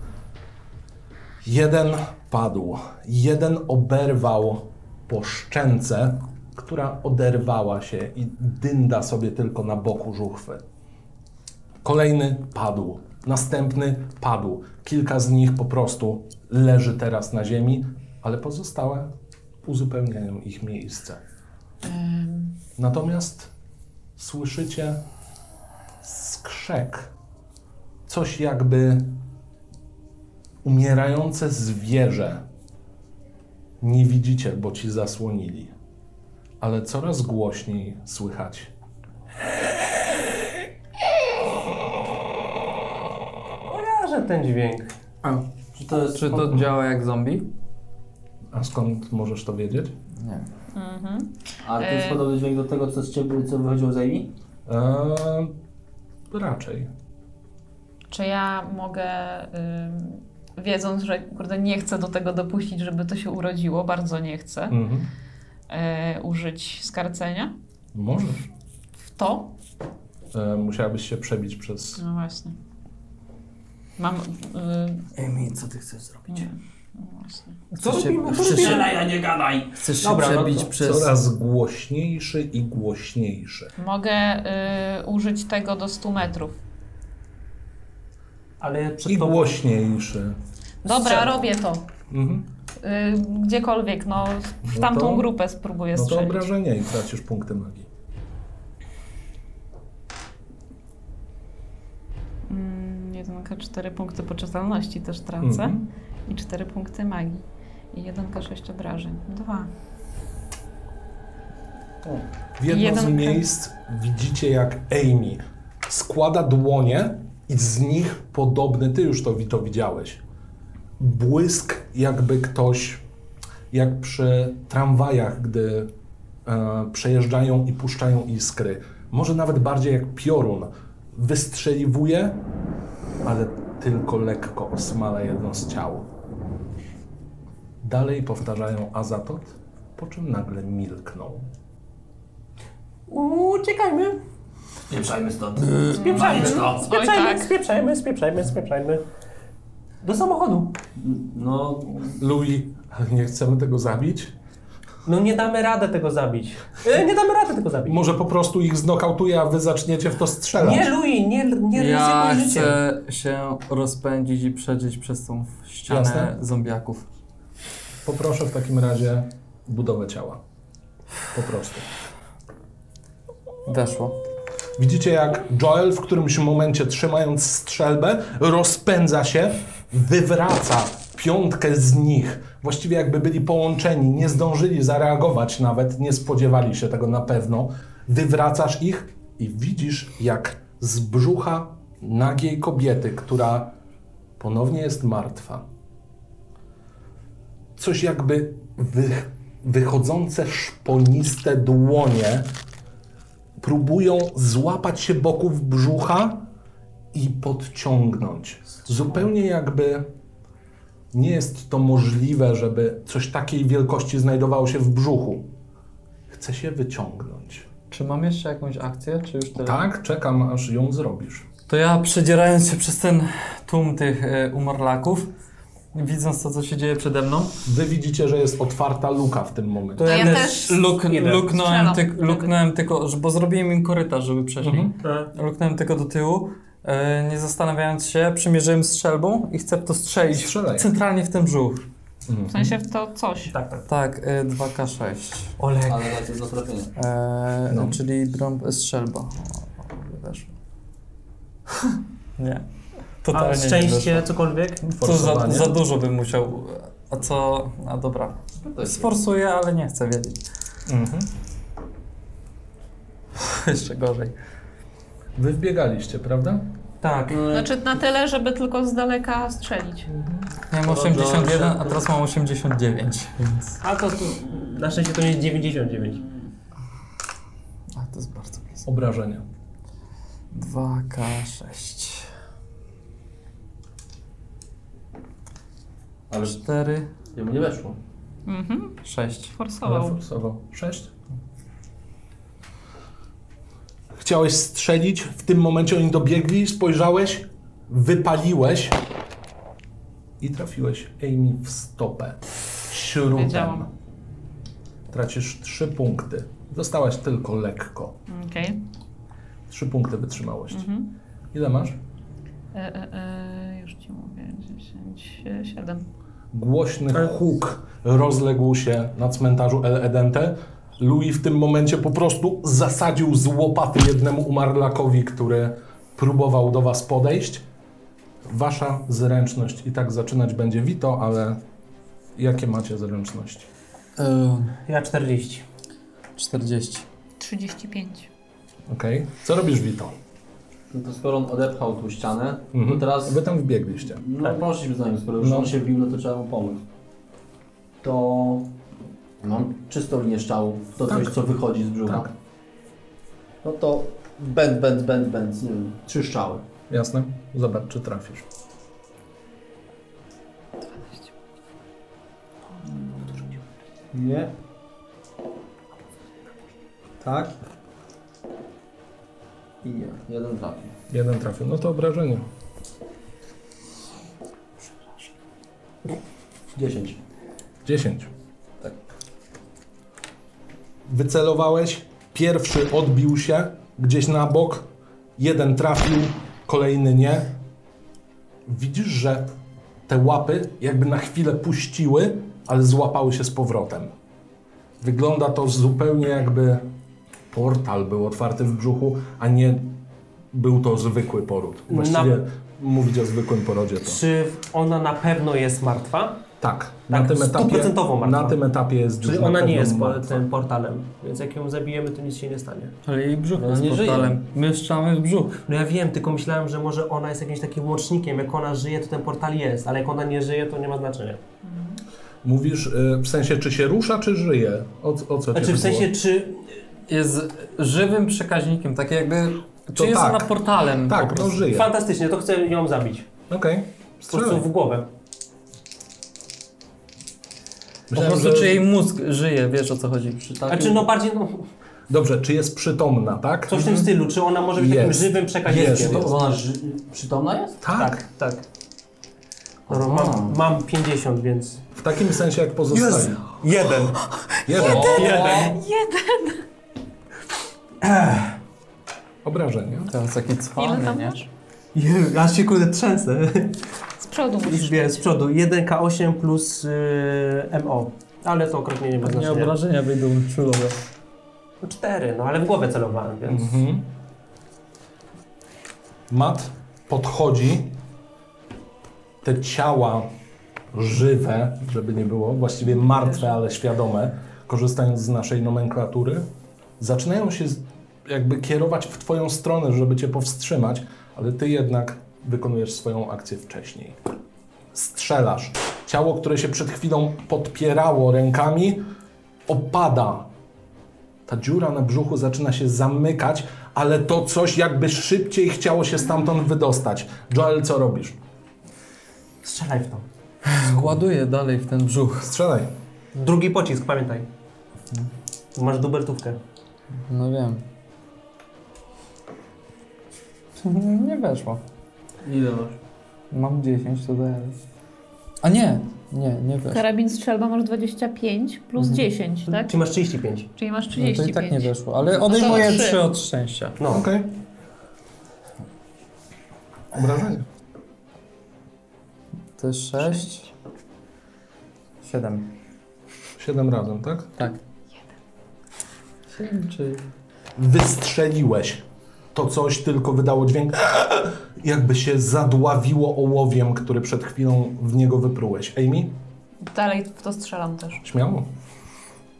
Speaker 1: Jeden padł, jeden oberwał po szczęce, która oderwała się i dynda sobie tylko na boku żuchwy. Kolejny padł, następny padł. Kilka z nich po prostu leży teraz na ziemi, ale pozostałe uzupełniają ich miejsce. Natomiast słyszycie skrzek. Coś jakby umierające zwierzę. Nie widzicie, bo ci zasłonili. Ale coraz głośniej słychać.
Speaker 5: Kojarzę ten dźwięk.
Speaker 6: Czy to jest
Speaker 7: Czy to działa jak zombie?
Speaker 1: A skąd możesz to wiedzieć?
Speaker 6: A to jest
Speaker 3: E.
Speaker 6: podobny dźwięk do tego, co z ciebie, co wychodziło z Amy?
Speaker 1: Eee, raczej.
Speaker 3: Czy ja mogę, ym, wiedząc, że kurde nie chcę do tego dopuścić, żeby to się urodziło, bardzo nie chcę,
Speaker 1: Mhm.
Speaker 3: y, użyć skarcenia
Speaker 1: Możesz.
Speaker 3: w to?
Speaker 1: Eee, musiałabyś się przebić przez.
Speaker 3: No właśnie. Mam... y, Yy,
Speaker 4: Emi, co ty chcesz zrobić?
Speaker 3: no właśnie.
Speaker 5: Mm. Co
Speaker 4: Chcesz się-
Speaker 5: robimy? Co
Speaker 4: chcesz się-
Speaker 5: robimy?
Speaker 9: Gadaj, a nie gadaj!
Speaker 4: Chcesz się
Speaker 5: Dobra, no
Speaker 4: przebić
Speaker 5: to-
Speaker 4: przez...
Speaker 1: Coraz głośniejszy i głośniejszy.
Speaker 3: Mogę y, użyć tego do 100 metrów.
Speaker 5: Ale
Speaker 1: I
Speaker 5: przed tobą...
Speaker 1: głośniejszy.
Speaker 3: Dobra,
Speaker 4: Strzelam.
Speaker 3: robię to.
Speaker 1: Mhm.
Speaker 3: Y, gdziekolwiek, no w
Speaker 1: No
Speaker 3: tamtą
Speaker 1: to-
Speaker 3: grupę spróbuję
Speaker 1: No to
Speaker 3: strzelić.
Speaker 1: obrażenie i tracisz punkty magii.
Speaker 3: Mm, Jedynka, cztery punkty poczytalności też tracę.
Speaker 1: Mhm.
Speaker 3: I cztery punkty magii. I jedynka, sześć obrażeń. Dwa.
Speaker 1: W jedno z
Speaker 3: Jeden
Speaker 1: miejsc widzicie, jak Amy składa dłonie i z nich podobny, ty już to, wi- to widziałeś, błysk jakby ktoś, jak przy tramwajach, gdy e, przejeżdżają i puszczają iskry. Może nawet bardziej jak piorun. Wystrzeliwuje, ale tylko lekko osmala jedno z ciał. Dalej powtarzają Azatot, po czym nagle milknął.
Speaker 5: Uciekajmy.
Speaker 9: Pieprzajmy stąd.
Speaker 5: Spieprzajmy.
Speaker 9: Walić to.
Speaker 3: Oj
Speaker 5: Spieprzajmy,
Speaker 3: tak.
Speaker 5: spieprzajmy, spieprzajmy, spieprzajmy. Do samochodu.
Speaker 6: No,
Speaker 1: Louis, nie chcemy tego zabić?
Speaker 5: No nie damy rady tego zabić. E, Nie damy rady tego zabić.
Speaker 1: Może po prostu ich znokautuje, a wy zaczniecie w to strzelać.
Speaker 5: Nie, Louis, nie, nie
Speaker 7: Ja
Speaker 5: ryzykuj życiem.
Speaker 7: chcę się rozpędzić i przedzieć przez tą ścianę
Speaker 1: Jasne.
Speaker 7: zombiaków.
Speaker 1: Poproszę w takim razie budowę ciała. Po prostu.
Speaker 7: Weszło.
Speaker 1: Widzicie jak Joel w którymś momencie trzymając strzelbę rozpędza się, wywraca piątkę z nich. Właściwie jakby byli połączeni, nie zdążyli zareagować nawet, nie spodziewali się tego na pewno. Wywracasz ich i widzisz jak z brzucha nagiej kobiety, która ponownie jest martwa. Coś jakby wy, wychodzące szponiste dłonie próbują złapać się boków brzucha i podciągnąć. Zupełnie jakby nie jest to możliwe, żeby coś takiej wielkości znajdowało się w brzuchu. Chce się wyciągnąć.
Speaker 7: Czy mam jeszcze jakąś akcję, czy już tyle?
Speaker 1: Tak, czekam aż ją zrobisz.
Speaker 7: To ja przedzierając się przez ten tłum tych e, umarlaków, widząc to, co się dzieje przede mną,
Speaker 1: Wy widzicie, że jest otwarta luka w tym momencie.
Speaker 7: to
Speaker 3: To
Speaker 7: ja,
Speaker 3: ja
Speaker 7: też
Speaker 3: też
Speaker 7: luk,
Speaker 2: idę.
Speaker 7: luknąłem,
Speaker 3: Strzelam
Speaker 7: tyk,
Speaker 3: wtedy.
Speaker 7: luknąłem tylko, że- bo zrobiłem im korytarz, żeby przeszli.
Speaker 5: Tak.
Speaker 7: Luknąłem tylko do tyłu, e, nie zastanawiając się, przymierzyłem strzelbą i chcę w to strzelić.
Speaker 1: Strzelaj.
Speaker 7: Centralnie w ten brzuch.
Speaker 1: Mhm.
Speaker 3: W sensie w to coś.
Speaker 5: tak, tak.
Speaker 7: Tak, e, 2K6.
Speaker 5: Olek.
Speaker 9: Ale
Speaker 6: tak
Speaker 9: to jest do trafienia.
Speaker 7: E,
Speaker 1: No.
Speaker 7: Czyli drąb strzelba. O, Weszło. nie. Totalnie.
Speaker 5: A
Speaker 7: nie
Speaker 5: szczęście,
Speaker 7: weszło.
Speaker 5: cokolwiek?
Speaker 7: To za,
Speaker 1: Forsowanie.
Speaker 7: za dużo bym musiał. A co? A dobra. Sforsuję, ale nie chcę wiedzieć.
Speaker 1: Mhm.
Speaker 7: Jeszcze gorzej.
Speaker 1: Wy wbiegaliście, prawda?
Speaker 7: Tak,
Speaker 3: Znaczy na tyle, żeby tylko z daleka strzelić.
Speaker 7: miałem 81, a teraz mam 89. Więc...
Speaker 5: A to tu, na szczęście to nie jest 99.
Speaker 7: A to jest bardzo blisko.
Speaker 1: Obrażenia.
Speaker 7: 2K6.
Speaker 6: Ale
Speaker 7: 4,
Speaker 6: jemu nie weszło.
Speaker 3: Mhm,
Speaker 7: 6.
Speaker 1: Ale
Speaker 3: forsował.
Speaker 1: forsował. Sześć. Chciałeś strzelić, w tym momencie oni dobiegli, spojrzałeś, wypaliłeś i trafiłeś Amy w stopę. Śrutem.
Speaker 3: Wiedziałam.
Speaker 1: Tracisz trzy punkty. Dostałaś tylko lekko.
Speaker 3: Okej.
Speaker 1: Trzy punkty wytrzymałości.
Speaker 3: Mhm.
Speaker 1: Ile masz?
Speaker 3: E, e, e, Już ci mówię, 10, 7.
Speaker 1: Głośny huk rozległ się na cmentarzu El Edente. Louis w tym momencie po prostu zasadził z łopaty jednemu umarlakowi, który próbował do was podejść. Wasza zręczność i tak zaczynać będzie Wito, ale jakie macie zręczności?
Speaker 5: Ja 40.
Speaker 7: 40.
Speaker 3: 35.
Speaker 1: Okej. Co robisz Wito?
Speaker 9: No to skoro on odepchał tą ścianę,
Speaker 1: Mhm.
Speaker 9: to teraz...
Speaker 1: Wy tam wbiegliście.
Speaker 9: No poszliśmy za nim, skoro już
Speaker 1: Tak. No.
Speaker 9: on się bił, no to trzeba mu pomóc. To... Mam czystą linię strzału, to
Speaker 1: No. Tak.
Speaker 9: coś, co wychodzi z brzucha.
Speaker 1: Tak.
Speaker 9: No to będ, będ, będ, będ, nie wiem, trzy strzały.
Speaker 1: Jasne? Zobacz, czy trafisz.
Speaker 6: Nie. Tak.
Speaker 9: I nie, jeden trafił.
Speaker 1: Jeden trafił. No to obrażenie.
Speaker 9: 10.
Speaker 1: 10.
Speaker 9: Tak.
Speaker 1: Wycelowałeś, pierwszy odbił się gdzieś na bok, jeden trafił, kolejny nie. Widzisz, że te łapy jakby na chwilę puściły, ale złapały się z powrotem. Wygląda to zupełnie jakby portal był otwarty w brzuchu, a nie był to zwykły poród. Właściwie mówić o zwykłym porodzie to.
Speaker 5: Czy ona na pewno jest martwa?
Speaker 1: Tak, na
Speaker 5: Tak,
Speaker 1: tym etapie,
Speaker 5: stuprocentowo martwa.
Speaker 1: na tym etapie jest
Speaker 5: Czyli
Speaker 1: już na
Speaker 5: ona nie
Speaker 1: pewno
Speaker 5: jest po,
Speaker 1: martwa.
Speaker 5: tym portalem, więc jak ją zabijemy, to nic się nie stanie.
Speaker 7: Ale jej brzuch
Speaker 9: No,
Speaker 7: jest
Speaker 9: nie żyje.
Speaker 7: portalem. My strzamy w brzuch.
Speaker 5: No ja wiem, tylko myślałem, że może ona jest jakimś takim łącznikiem. Jak ona żyje, to ten portal jest, ale jak ona nie żyje, to nie ma znaczenia.
Speaker 1: Mówisz y, w sensie, czy się rusza, czy żyje? O, o co
Speaker 5: Znaczy
Speaker 1: ci
Speaker 5: w sensie, czy...
Speaker 7: Jest żywym przekaźnikiem, tak jakby... Czy
Speaker 1: To
Speaker 7: jest
Speaker 1: tak.
Speaker 7: ona portalem? po
Speaker 1: Tak, no
Speaker 7: prostu?
Speaker 1: żyje.
Speaker 5: Fantastycznie, to chcę ją zabić.
Speaker 1: Okej,
Speaker 5: Po prostu
Speaker 1: strzelaj.
Speaker 5: w głowę.
Speaker 7: Po
Speaker 1: Myślałem,
Speaker 7: prostu
Speaker 1: że-
Speaker 7: czy jej mózg żyje, wiesz o co chodzi. Przy takim...
Speaker 5: Znaczy no bardziej, no,
Speaker 1: Dobrze, czy jest przytomna, tak?
Speaker 5: coś w tym stylu. Czy ona może być takim
Speaker 1: Jest.
Speaker 5: żywym
Speaker 1: Jest,
Speaker 5: przekaźnikiem?
Speaker 1: to-
Speaker 9: Ona ży... przytomna jest?
Speaker 1: Tak,
Speaker 5: Tak, tak. Dobra, mam, mam 50, więc...
Speaker 1: w takim sensie jak pozostali.
Speaker 5: Jeden.
Speaker 1: Jeden.
Speaker 5: Jeden.
Speaker 1: Obrażenia.
Speaker 7: Teraz taki
Speaker 3: Ile
Speaker 7: cwany,
Speaker 3: tam
Speaker 7: nie?
Speaker 3: masz?
Speaker 5: Jezu, aż się kurde trzęsę.
Speaker 3: Z przodu musisz.
Speaker 5: Liczbie z przodu. 1K8 plus y, MO. Ale to okrotnie nie ma
Speaker 7: Pewnie
Speaker 5: znaczenia.
Speaker 7: obrażenia wyjdą czulowe.
Speaker 5: 4, no ale w głowę celowałem, więc...
Speaker 1: Mhm. Mat podchodzi. Te ciała żywe, żeby nie było, właściwie martwe, ale świadome, korzystając z naszej nomenklatury, zaczynają się z- jakby kierować w Twoją stronę, żeby Cię powstrzymać, ale Ty jednak wykonujesz swoją akcję wcześniej. Strzelasz. Ciało, które się przed chwilą podpierało rękami, opada ta dziura na brzuchu zaczyna się zamykać, ale to coś jakby szybciej chciało się stamtąd wydostać. Joel, co robisz?
Speaker 5: Strzelaj w to.
Speaker 7: Ładuję dalej w ten brzuch.
Speaker 1: Strzelaj.
Speaker 5: Drugi pocisk, pamiętaj. Masz dubertówkę.
Speaker 7: No wiem. Nie weszło.
Speaker 9: Ile masz?
Speaker 7: Mam 10, to daję. A nie, nie, nie weszło.
Speaker 3: Karabin strzelba masz 25 plus
Speaker 7: Mhm.
Speaker 3: 10, tak?
Speaker 5: Czy masz 35?
Speaker 3: Czyli masz
Speaker 7: No to i
Speaker 3: 35.
Speaker 7: tak nie weszło, ale odejmuję
Speaker 3: No trzy.
Speaker 7: 3 od szczęścia.
Speaker 5: No.
Speaker 1: Okej. Obrażenie.
Speaker 7: To jest 6. 7.
Speaker 1: Siedem razem, tak?
Speaker 7: Tak. 7 czy...
Speaker 1: wystrzeliłeś. To coś tylko wydało dźwięk, jakby się zadławiło ołowiem, który przed chwilą w niego wyprułeś. Amy,
Speaker 3: Dalej w to strzelam też.
Speaker 1: śmiało.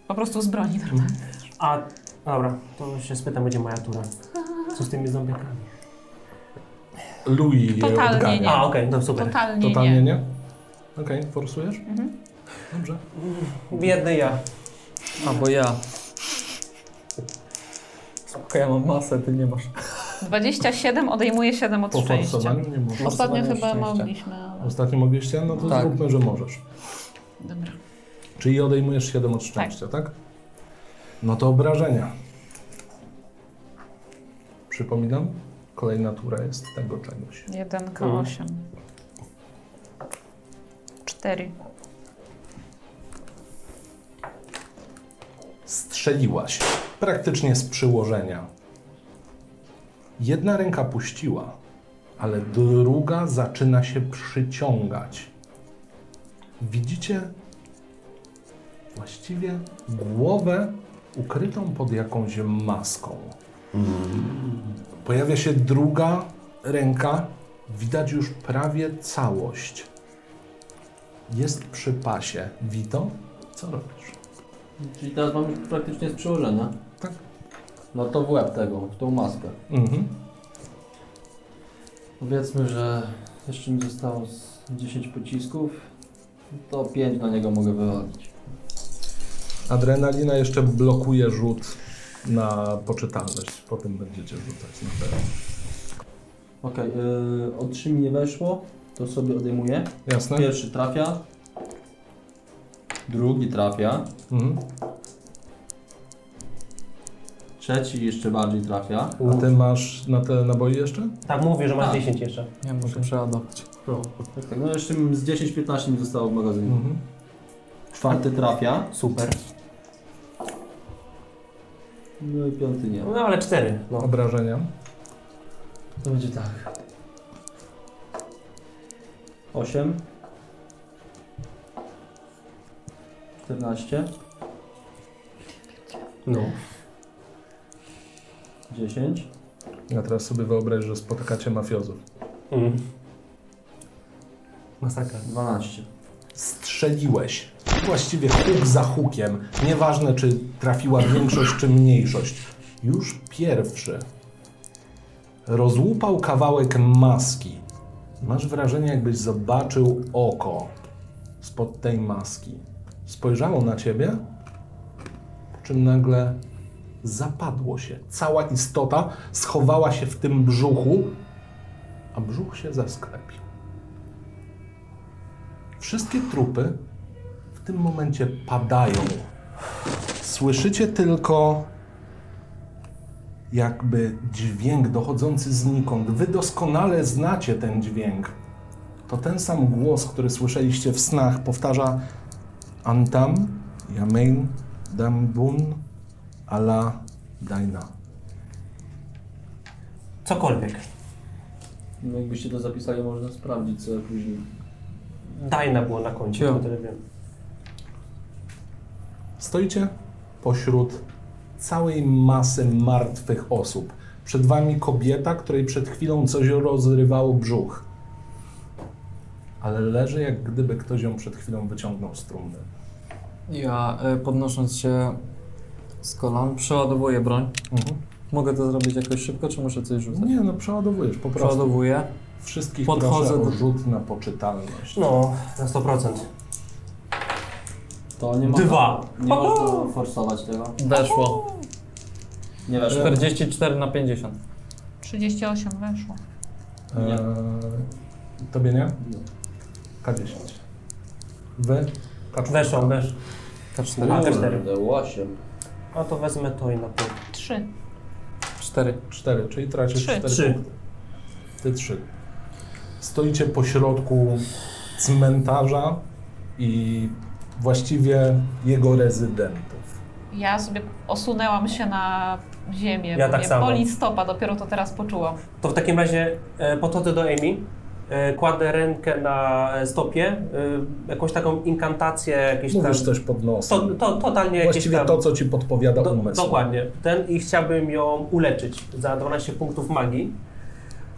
Speaker 3: Po prostu z broni normalnie.
Speaker 5: A, dobra, to się spytam, będzie moja tura. Co z tymi zombiakami?
Speaker 1: Louis je
Speaker 3: Totalnie
Speaker 1: odgania.
Speaker 3: Nie.
Speaker 5: A, okej, no super.
Speaker 3: Totalnie,
Speaker 1: Totalnie
Speaker 3: nie.
Speaker 1: nie? Okej, forsujesz? Dobrze.
Speaker 5: Biedny ja.
Speaker 7: A, bo ja. Spoko, ja mam masę, ty nie masz.
Speaker 3: 27 odejmuje 7 od
Speaker 1: Po
Speaker 3: szczęścia.
Speaker 1: forsowaniu nie możesz.
Speaker 3: Ostatnio
Speaker 7: Forsowanie
Speaker 3: chyba
Speaker 7: szczęścia.
Speaker 3: mogliśmy, ale...
Speaker 1: Ostatnio mogliście? No to
Speaker 7: Tak.
Speaker 1: zróbmy, że możesz.
Speaker 3: Dobra.
Speaker 1: Czyli odejmujesz 7 od szczęścia, tak? No to obrażenia. Przypominam, kolejna tura jest tego czegoś.
Speaker 3: 1K8. 4.
Speaker 1: strzeliłaś, praktycznie z przyłożenia. Jedna ręka puściła, ale druga zaczyna się przyciągać. Widzicie właściwie głowę ukrytą pod jakąś maską. Pojawia się druga ręka, widać już prawie całość. Jest przy pasie. Wito, co robisz?
Speaker 9: Czyli teraz mam już praktycznie z przełożenia.
Speaker 1: Tak.
Speaker 9: No to w łeb tego, w tą maskę.
Speaker 1: Mhm.
Speaker 9: Powiedzmy, że jeszcze mi zostało z 10 pocisków, to 5 na niego mogę wywalić.
Speaker 1: Adrenalina jeszcze blokuje rzut na poczytalność. Potem będziecie rzucać na pewno.
Speaker 9: Okej, yy, o 3 mi nie weszło, to sobie odejmuję.
Speaker 1: Jasne?
Speaker 9: Pierwszy trafia, drugi trafia,
Speaker 1: Mhm.
Speaker 9: trzeci jeszcze bardziej trafia.
Speaker 1: A ty masz na te naboi jeszcze?
Speaker 5: Tak, mówię, że masz
Speaker 9: A.
Speaker 5: 10 jeszcze.
Speaker 7: Ja muszę przeładować.
Speaker 5: No.
Speaker 9: Tak, tak, no jeszcze z 10-15 mi zostało w magazynie.
Speaker 1: Mhm.
Speaker 9: Czwarty trafia,
Speaker 5: Super.
Speaker 9: no i piąty nie.
Speaker 5: No ale 4. No.
Speaker 1: Obrażenia.
Speaker 9: To będzie tak. 8 14
Speaker 5: no.
Speaker 9: 10
Speaker 1: Ja teraz sobie wyobraź, że spotykacie mafiozów.
Speaker 5: Mm. Masakra.
Speaker 9: 12
Speaker 1: Strzeliłeś. Właściwie huk za hukiem. Nieważne, czy trafiła większość, czy mniejszość. Już pierwszy. Rozłupał kawałek maski. Masz wrażenie, jakbyś zobaczył oko spod tej maski. Spojrzało na ciebie, po czym nagle zapadło się. Cała istota schowała się w tym brzuchu, a brzuch się zasklepił. Wszystkie trupy w tym momencie padają. Słyszycie tylko jakby dźwięk dochodzący znikąd. Wy doskonale znacie ten dźwięk. To ten sam głos, który słyszeliście w snach, powtarza Antam, Yamein, Dambun, Ala, Daina.
Speaker 5: Cokolwiek.
Speaker 9: No jakbyście to zapisali, można sprawdzić co później.
Speaker 5: Dajna było na koncie,
Speaker 7: Cio.
Speaker 5: o Tak, tyle wiem.
Speaker 1: Stoicie pośród całej masy martwych osób. Przed wami kobieta, której przed chwilą coś rozrywało brzuch. Ale leży jak gdyby ktoś ją przed chwilą wyciągnął z trumny.
Speaker 7: Ja y, podnosząc się z kolan przeładowuję broń. Mogę to zrobić jakoś szybko, czy muszę coś rzucać?
Speaker 1: Nie no, przeładowujesz po prostu.
Speaker 7: Przeładowuję.
Speaker 1: Wszystkich
Speaker 7: Podchodzę
Speaker 1: proszę o
Speaker 7: do-
Speaker 1: rzut na poczytalność.
Speaker 5: No, na 100%.
Speaker 9: To nie ma.
Speaker 5: Dwa.
Speaker 9: Nie można forsować tego.
Speaker 7: Weszło. E,
Speaker 9: Nie weszło.
Speaker 7: 44 na 50.
Speaker 3: 38 weszło.
Speaker 1: Eee,
Speaker 9: Nie.
Speaker 1: tobie nie?
Speaker 9: Nie.
Speaker 1: K10. Wy? K4.
Speaker 5: Weszłam, wesz.
Speaker 7: K4.
Speaker 5: A, te cztery.
Speaker 9: Kurde, Osiem.
Speaker 5: A to wezmę to i na pół.
Speaker 3: 3.
Speaker 7: 4.
Speaker 1: 4, czyli tracisz
Speaker 3: Trzy.
Speaker 1: 4
Speaker 5: Trzy.
Speaker 1: punkty. Ty 3. Stoicie po środku cmentarza i właściwie jego rezydentów.
Speaker 3: Ja sobie osunęłam się na ziemię,
Speaker 5: Ja
Speaker 3: bo
Speaker 5: tak
Speaker 3: mnie
Speaker 5: samo.
Speaker 3: boli stopa, dopiero to teraz poczułam.
Speaker 5: To w takim razie e, podchodzę do Amy, e, kładę rękę na e, stopie, e, jakąś taką inkantację, jakieś
Speaker 1: Mówisz
Speaker 5: tam...
Speaker 1: coś pod nosem.
Speaker 5: To, to, totalnie
Speaker 1: Właściwie
Speaker 5: jakieś tam...
Speaker 1: to, co ci podpowiada
Speaker 5: Do,
Speaker 1: umysł.
Speaker 5: dokładnie. Ten i chciałbym ją uleczyć za 12 punktów magii.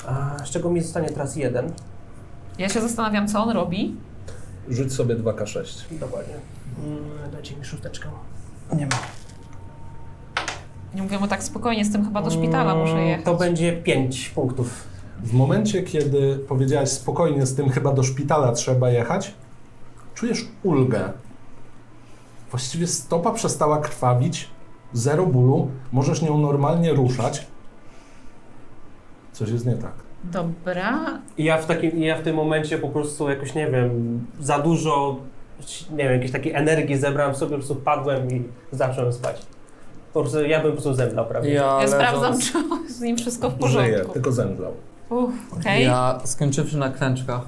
Speaker 5: A, z czego mi zostanie teraz jeden.
Speaker 3: Ja się zastanawiam, co on robi.
Speaker 1: Rzuć sobie 2K6.
Speaker 5: Dokładnie. Mm, dajcie mi szósteczkę.
Speaker 3: Nie mówię mu tak spokojnie, z tym chyba do szpitala muszę
Speaker 5: Mm,
Speaker 3: jechać.
Speaker 5: To będzie 5 punktów.
Speaker 1: W momencie, kiedy powiedziałaś spokojnie, z tym chyba do szpitala trzeba jechać, czujesz ulgę. Właściwie stopa przestała krwawić, zero bólu, możesz nią normalnie ruszać. Coś jest nie tak.
Speaker 3: Dobra,
Speaker 5: I ja w, takim, ja w tym momencie po prostu jakoś, nie wiem, za dużo, nie wiem, jakiejś takiej energii zebrałem sobie, po prostu padłem i zacząłem spać. Po prostu ja bym po prostu zemdlał, prawda?
Speaker 3: ja sprawdzam, czy z nim wszystko w
Speaker 1: Żyje,
Speaker 3: porządku.
Speaker 1: tylko zemdlał.
Speaker 3: Uff, okej.
Speaker 7: Ja skończywszy na klęczkach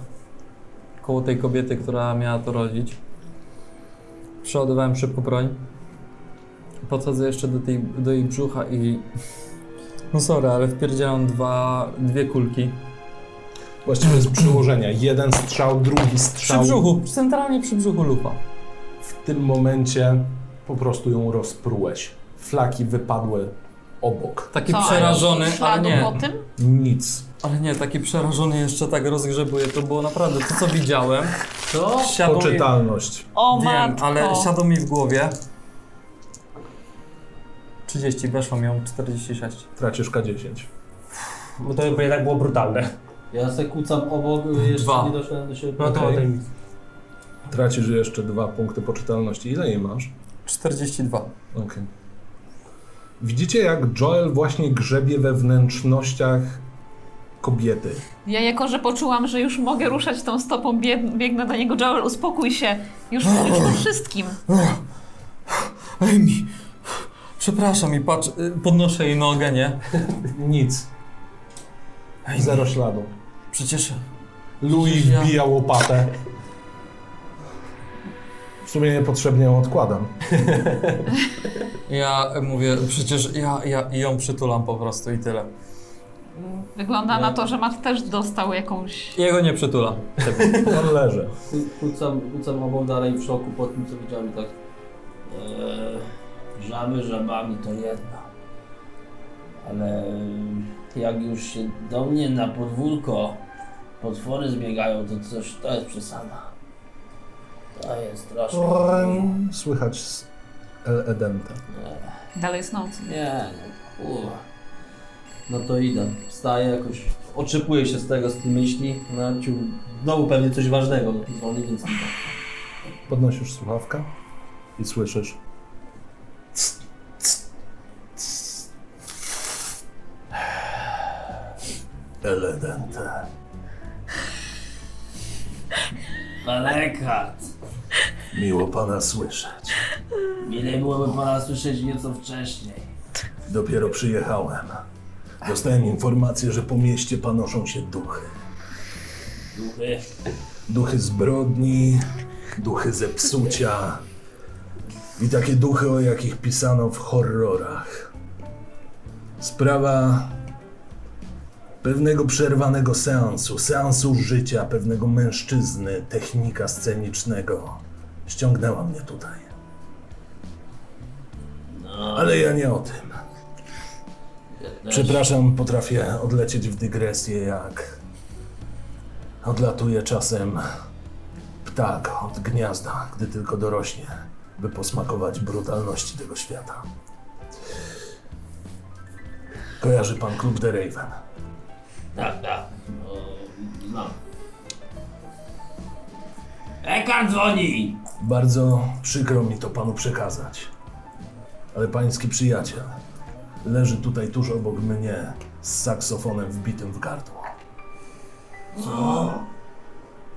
Speaker 7: koło tej kobiety, która miała to rodzić, przeładowałem szybko broń. Podchodzę jeszcze do, tej, do jej brzucha i. No sorry, ale wpierdziałem dwa, dwie kulki.
Speaker 1: Właściwie z przyłożenia. Jeden strzał, drugi
Speaker 7: Przy
Speaker 1: strzał.
Speaker 7: brzuchu, centralnie przy brzuchu lupa.
Speaker 1: W tym momencie po prostu ją rozprułeś. Flaki wypadły obok.
Speaker 7: Taki
Speaker 3: Co, ani
Speaker 7: przerażony, ale
Speaker 3: śladu
Speaker 7: nie.
Speaker 3: po tym?
Speaker 1: Nic.
Speaker 7: Ale nie, taki przerażony jeszcze tak rozgrzebuje. To było naprawdę to, co widziałem.
Speaker 5: Co?
Speaker 7: Siadło mi-
Speaker 1: Poczytalność.
Speaker 3: O
Speaker 7: Wiem,
Speaker 3: matko.
Speaker 7: ale siadło mi w głowie. 30, weszło miał 46.
Speaker 1: Tracisz K10.
Speaker 5: Bo to by jednak było brutalne.
Speaker 6: Ja se kucam obok, y, jeszcze
Speaker 7: Dwa.
Speaker 6: nie doszedłem do siebie.
Speaker 5: No to
Speaker 1: Okej.
Speaker 5: o tym.
Speaker 1: Tracisz jeszcze dwa punkty poczytalności. Ile jej masz?
Speaker 7: 42.
Speaker 1: Okej. Widzicie, jak Joel właśnie grzebie we wnętrznościach kobiety.
Speaker 3: Ja jako, że poczułam, że już mogę ruszać tą stopą, bieg- biegnę do niego. Joel, uspokój się. Już, już po wszystkim.
Speaker 7: Ej mi! Przepraszam i patrz, y, podnoszę jej nogę, nie?
Speaker 1: Nic.
Speaker 7: Ej,
Speaker 1: Zero śladu.
Speaker 7: przecież
Speaker 1: Louis
Speaker 7: Ja-
Speaker 1: wbija łopatę. W sumie niepotrzebnie ją odkładam.
Speaker 7: ja y, mówię, przecież ja, ja ją przytulam po prostu i tyle.
Speaker 3: Wygląda na to, że Matt też dostał jakąś...
Speaker 7: Jego nie przytulam.
Speaker 1: On leży.
Speaker 6: Kucam, kucam obok dalej w szoku po tym, co widziałem i tak.
Speaker 9: Eee, żaby żabami to jedno. Ale jak już się do mnie na podwórko potwory zbiegają, to coś to jest przesada. To jest straszne.
Speaker 1: Słychać z El Edente.
Speaker 3: Dalej jest noc.
Speaker 6: Nie, no kurwa. No to idę. Wstaję jakoś, otrzepuję się z tego, z tej myśli. No, ciu, znowu pewnie coś ważnego dzwoni, więc
Speaker 1: Podnosisz słuchawkę i słyszysz. "Cs, cs, cs". El Edente.
Speaker 9: Palekat!
Speaker 1: Miło pana słyszeć.
Speaker 9: Mile byłoby pana słyszeć nieco wcześniej.
Speaker 1: Dopiero przyjechałem. Dostałem informację, że po mieście panoszą się duchy.
Speaker 9: Duchy.
Speaker 1: Duchy zbrodni, duchy zepsucia i takie duchy, o jakich pisano w horrorach. Sprawa pewnego przerwanego seansu, seansu życia pewnego mężczyzny, technika scenicznego, ściągnęła mnie tutaj. Ale ja nie o tym. Przepraszam, potrafię odlecieć w dygresję jak Odlatuje czasem ptak od gniazda, gdy tylko dorośnie, by posmakować brutalności tego świata. Kojarzy pan klub The Raven?
Speaker 9: Tak, tak. No, znam. Ekan dzwoni!
Speaker 1: Bardzo przykro mi to panu przekazać, ale pański przyjaciel leży tutaj tuż obok mnie z saksofonem wbitym w gardło.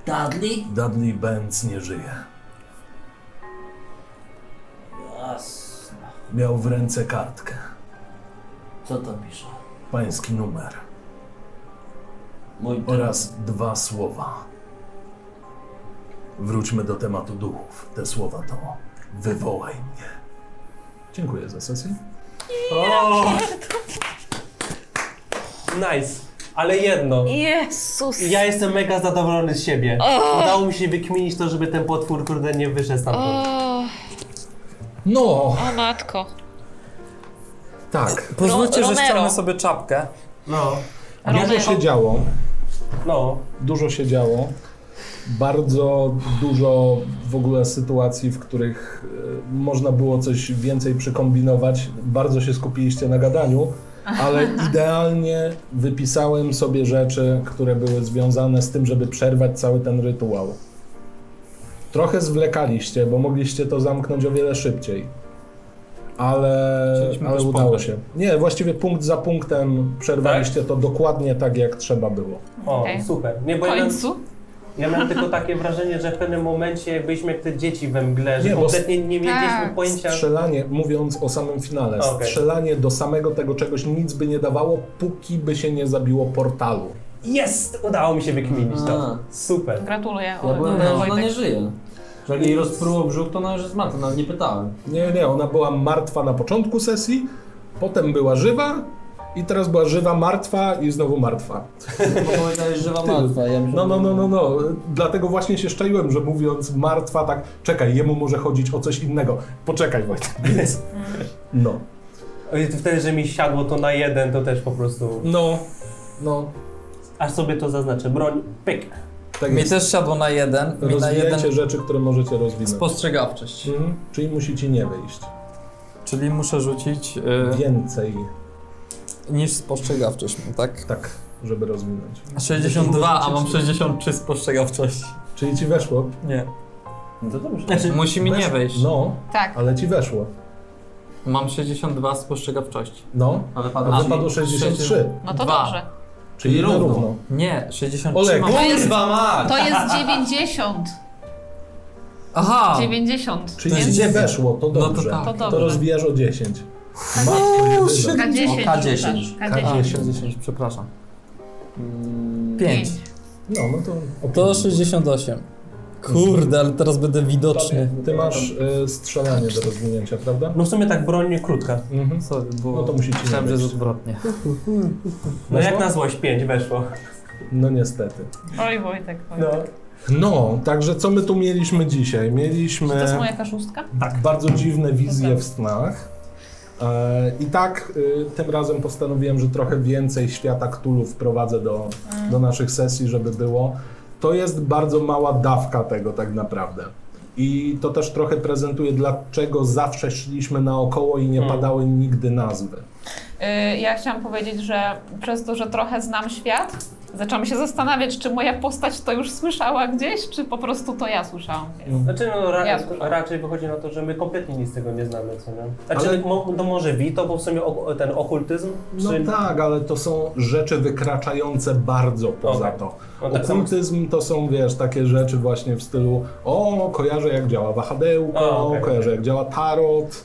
Speaker 9: Dudley?
Speaker 1: Dudley Benz nie żyje.
Speaker 9: Jasne.
Speaker 1: Miał w ręce kartkę,
Speaker 9: Co to pisze?
Speaker 1: pański numer
Speaker 9: Mój
Speaker 1: oraz dwa słowa.
Speaker 10: Wróćmy do tematu duchów. Te słowa to wywołaj mnie.
Speaker 1: Dziękuję za sesję.
Speaker 5: O! Nice. Ale jedno.
Speaker 3: Jezus!
Speaker 5: Ja jestem mega zadowolony z siebie. Udało mi się wykminić to, żeby ten potwór kurde nie wyszedł stamtąd.
Speaker 3: O,
Speaker 1: No,
Speaker 3: o matko.
Speaker 1: tak.
Speaker 7: Pozwólcie,
Speaker 3: Ro-
Speaker 7: że
Speaker 3: Romero.
Speaker 7: ściągnę sobie czapkę.
Speaker 5: No,
Speaker 1: Dużo się działo.
Speaker 5: no.
Speaker 1: Dużo się działo. Bardzo dużo w ogóle sytuacji, w których e, można było coś więcej przykombinować. Bardzo się skupiliście na gadaniu, ale idealnie wypisałem sobie rzeczy, które były związane z tym, żeby przerwać cały ten rytuał. Trochę zwlekaliście, bo mogliście to zamknąć o wiele szybciej. Ale,
Speaker 7: Chcieliśmy
Speaker 1: ale
Speaker 7: też
Speaker 1: udało
Speaker 7: pomóc.
Speaker 1: się. Nie, właściwie punkt za punktem przerwaliście to dokładnie tak, jak trzeba było.
Speaker 5: O,
Speaker 3: Okej.
Speaker 5: super. Nie,
Speaker 3: W
Speaker 5: bo ja miałem,
Speaker 3: końcu?
Speaker 5: ja miałem tylko takie wrażenie, że w pewnym momencie byliśmy jak te dzieci we mgle, że
Speaker 1: Nie, bo
Speaker 5: kompletnie nie mieliśmy
Speaker 3: Tak.
Speaker 5: pojęcia.
Speaker 1: Strzelanie, mówiąc o samym finale,
Speaker 5: Okej.
Speaker 1: strzelanie do samego tego czegoś nic by nie dawało, póki by się nie zabiło portalu.
Speaker 5: Jest! Udało mi się wykminić to.
Speaker 9: A.
Speaker 5: Super.
Speaker 3: Gratuluję.
Speaker 9: Ja byłem
Speaker 6: no,
Speaker 9: pewien, że ona nie
Speaker 3: Wojtek.
Speaker 9: żyje. Że jak jej rozpruło brzuch, to ona już jest matką, nawet nie pytałem.
Speaker 1: Nie, nie, ona była martwa na początku sesji, potem była żywa i teraz była żywa, martwa i znowu martwa.
Speaker 9: Bo powiedziałeś, że żywa martwa. Ja
Speaker 1: No, no, no, no, no. Dlatego właśnie się szczaiłem, że mówiąc martwa, tak, czekaj, jemu może chodzić o coś innego. Poczekaj, Wojtek. Więc- No.
Speaker 5: Oj, to Wtedy, że mi siadło to na jeden, to też po prostu...
Speaker 1: No. No.
Speaker 5: Aż sobie to zaznaczę. Broń, pyk.
Speaker 1: Tak
Speaker 7: Mi
Speaker 1: jest.
Speaker 7: też siadło na jeden, mi na jeden
Speaker 1: Rozwijajcie rzeczy, które możecie rozwinąć.
Speaker 7: spostrzegawczość.
Speaker 1: Mhm. Czyli musi ci nie wyjść.
Speaker 7: Czyli muszę rzucić y,
Speaker 1: Więcej.
Speaker 7: niż spostrzegawczość, tak?
Speaker 1: Tak, żeby rozwinąć.
Speaker 7: 62, a mam 63 spostrzegawczość.
Speaker 1: Czyli ci weszło?
Speaker 7: Nie.
Speaker 9: No to dobrze.
Speaker 7: Musi mi nie
Speaker 1: Weszło.
Speaker 7: wejść.
Speaker 1: No,
Speaker 3: Tak.
Speaker 1: ale ci weszło.
Speaker 7: Mam 62 spostrzegawczości.
Speaker 1: No,
Speaker 9: A
Speaker 1: a
Speaker 9: wypadło
Speaker 1: wypadło
Speaker 9: ci.
Speaker 1: 63.
Speaker 3: No to
Speaker 7: Dwa.
Speaker 3: dobrze.
Speaker 1: Czyli na
Speaker 9: równo.
Speaker 1: równo.
Speaker 7: Nie, 63
Speaker 1: Olek.
Speaker 7: mam.
Speaker 3: To jest,
Speaker 9: Kurwa mać!
Speaker 3: to jest 90.
Speaker 7: Aha!
Speaker 3: 90.
Speaker 1: Czyli
Speaker 3: więc-
Speaker 1: nie weszło, to
Speaker 7: No to
Speaker 1: dobrze.
Speaker 7: tak.
Speaker 3: To
Speaker 1: To
Speaker 3: dobrze. No,
Speaker 1: rozwijasz o 10.
Speaker 3: K10.
Speaker 1: Jedyna.
Speaker 3: K10.
Speaker 9: K10.
Speaker 3: rzucasz.
Speaker 7: A,
Speaker 3: K10.
Speaker 7: 10, przepraszam. 5.
Speaker 3: Pięć.
Speaker 1: No, no to...
Speaker 7: Mm, To 68. Kurde, ale teraz będę widoczny.
Speaker 1: Ty masz y, strzelanie do rozwinięcia, prawda?
Speaker 5: No w sumie tak broń krótka.
Speaker 1: Mhm.
Speaker 7: Sorry, bo
Speaker 1: No to musi ci
Speaker 7: myślałem,
Speaker 1: nie
Speaker 7: że jest
Speaker 1: wejść.
Speaker 7: odwrotnie.
Speaker 5: No
Speaker 1: Weszło?
Speaker 5: jak na złość pięć weszło.
Speaker 1: No niestety.
Speaker 3: Oj Wojtek,
Speaker 5: No.
Speaker 3: Wojtek.
Speaker 1: No, także co my tu mieliśmy dzisiaj? Mieliśmy...
Speaker 3: Czy to jest moja kaszustka?
Speaker 1: bardzo dziwne wizje w snach. E, I tak y, tym razem postanowiłem, że trochę więcej świata Cthulhu wprowadzę do, do naszych sesji, żeby było. To jest bardzo mała dawka tego tak naprawdę. I to też trochę prezentuje, dlaczego zawsze szliśmy naokoło i nie
Speaker 5: Mm.
Speaker 1: padały nigdy nazwy.
Speaker 3: Y, Ja chciałam powiedzieć, że przez to, że trochę znam świat, zaczęłam się zastanawiać, czy moja postać to już słyszała gdzieś, czy po prostu to ja słyszałam.
Speaker 5: Znaczy no ra
Speaker 3: Ja słyszałem.
Speaker 5: raczej wychodzi na to, że my kompletnie nic z tego nie znamy, co nie? Znaczy
Speaker 1: Ale-
Speaker 5: mo no może Vito, bo w sumie ok ten okultyzm,
Speaker 1: No
Speaker 5: czy...
Speaker 1: tak, ale to są rzeczy wykraczające bardzo poza
Speaker 5: Okej.
Speaker 1: to.
Speaker 5: No tak samo-
Speaker 1: Okultyzm to są, wiesz, takie rzeczy właśnie w stylu o, kojarzę jak działa wahadełko,
Speaker 5: A, okej,
Speaker 1: kojarzę jak działa tarot.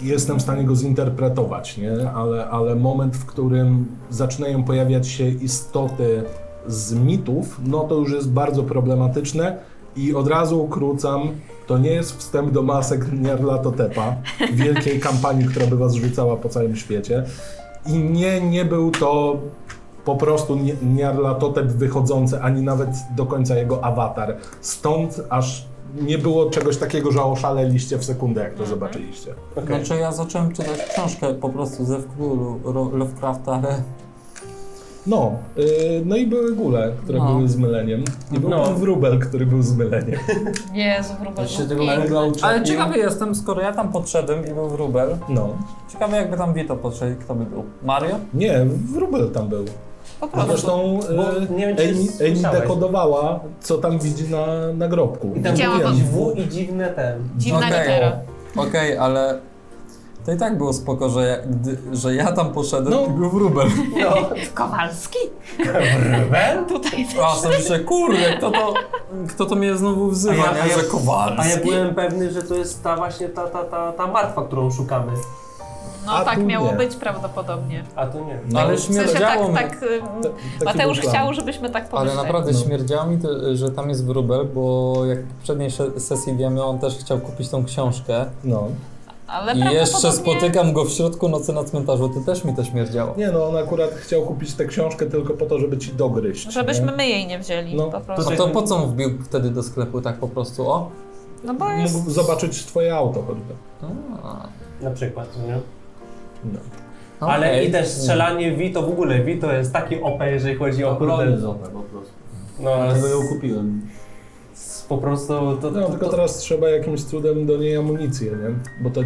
Speaker 1: Jestem w stanie go zinterpretować, nie? Ale, ale moment, w którym zaczynają pojawiać się istoty z mitów, no to już jest bardzo problematyczne i od razu ukrócam, to nie jest wstęp do masek Nierlatotepa, wielkiej kampanii, która by was rzucała po całym świecie. I nie, nie był to po prostu nie- Nyarlathotep wychodzący, ani nawet do końca jego awatar. Stąd aż nie było czegoś takiego, że oszaleliście w sekundę, jak to zobaczyliście.
Speaker 5: Okej.
Speaker 7: Znaczy ja zacząłem czytać książkę po prostu ze wkrólu Ro- Lovecrafta, ale
Speaker 1: No, yy, no i były góle, które
Speaker 7: No.
Speaker 1: były zmyleniem. I był
Speaker 5: No.
Speaker 1: ten wróbel, który był zmyleniem.
Speaker 3: Jezu, wróbel.
Speaker 9: Jeszcze tego
Speaker 3: Piękny.
Speaker 9: węgla uczę.
Speaker 7: Ale ciekawy jestem, skoro ja tam podszedłem i był wróbel.
Speaker 1: No.
Speaker 7: Ciekawe jakby tam Vito podszedł, kto by był? Mario?
Speaker 1: Nie, wróbel tam był.
Speaker 3: Po prostu.
Speaker 1: Zresztą y,
Speaker 5: Bo nie wiem, czy
Speaker 1: No, e, Eni- Eni
Speaker 5: słyszałeś.
Speaker 1: dekodowała, co tam widzi na nagrobku.
Speaker 5: I tam
Speaker 3: Widziałam
Speaker 5: był
Speaker 3: to.
Speaker 5: dziwu i dziwne ten...
Speaker 3: Dziwna
Speaker 7: Okej.
Speaker 3: litera.
Speaker 7: Okej, ale to i tak było spoko, że ja, gdy, że ja tam poszedłem
Speaker 1: No.
Speaker 7: i był wróbel.
Speaker 5: No,
Speaker 3: Kowalski?
Speaker 5: Wrwel?
Speaker 3: Tutaj
Speaker 7: A sobie że kurde, kto to, kto to mnie znowu wzywa?
Speaker 5: A ja- a ja-
Speaker 7: że Kowalski.
Speaker 5: A ja byłem pewny, że to jest ta właśnie ta, ta, ta, ta martwa, którą szukamy.
Speaker 3: No
Speaker 1: A tu
Speaker 3: tak miało
Speaker 1: nie.
Speaker 3: być prawdopodobnie.
Speaker 5: A tu nie.
Speaker 1: No,
Speaker 7: ale
Speaker 3: W sensie
Speaker 7: śmierdziało
Speaker 3: tak,
Speaker 7: mi.
Speaker 3: tak y,
Speaker 1: ta- taki
Speaker 3: Mateusz
Speaker 1: był plan.
Speaker 3: chciał, żebyśmy tak
Speaker 7: Ale
Speaker 3: pomyśleli.
Speaker 7: naprawdę
Speaker 1: No.
Speaker 7: śmierdziało mi, to, że tam jest wróbel, bo jak w poprzedniej sze- sesji wiemy, on też chciał kupić tą książkę.
Speaker 1: No.
Speaker 3: Ale
Speaker 7: I jeszcze
Speaker 3: prawdopodobnie-
Speaker 7: spotykam go w środku nocy na cmentarzu, to też mi to śmierdziało.
Speaker 1: Nie no, on akurat chciał kupić tę książkę tylko po to, żeby ci dogryźć.
Speaker 3: Żebyśmy
Speaker 1: nie?
Speaker 3: my jej nie wzięli
Speaker 1: No,
Speaker 3: po
Speaker 7: A
Speaker 3: prostu.
Speaker 7: to tak. po co on wbił wtedy do sklepu tak po prostu, o?
Speaker 3: No bo jest...
Speaker 1: Mógł zobaczyć twoje auto choćby.
Speaker 7: A,
Speaker 5: Na przykład, nie?
Speaker 1: No.
Speaker 5: Ale
Speaker 7: okej.
Speaker 5: i też strzelanie Wi to w ogóle Wi to jest taki OP, jeżeli chodzi o
Speaker 6: Broń
Speaker 5: kurde.
Speaker 6: z OP po prostu.
Speaker 5: No,
Speaker 6: Dlatego ją
Speaker 5: z,
Speaker 6: kupiłem.
Speaker 5: z, po prostu to,
Speaker 1: No,
Speaker 5: to,
Speaker 1: tylko
Speaker 5: to,
Speaker 1: teraz trzeba jakimś cudem do niej amunicję, nie? Bo to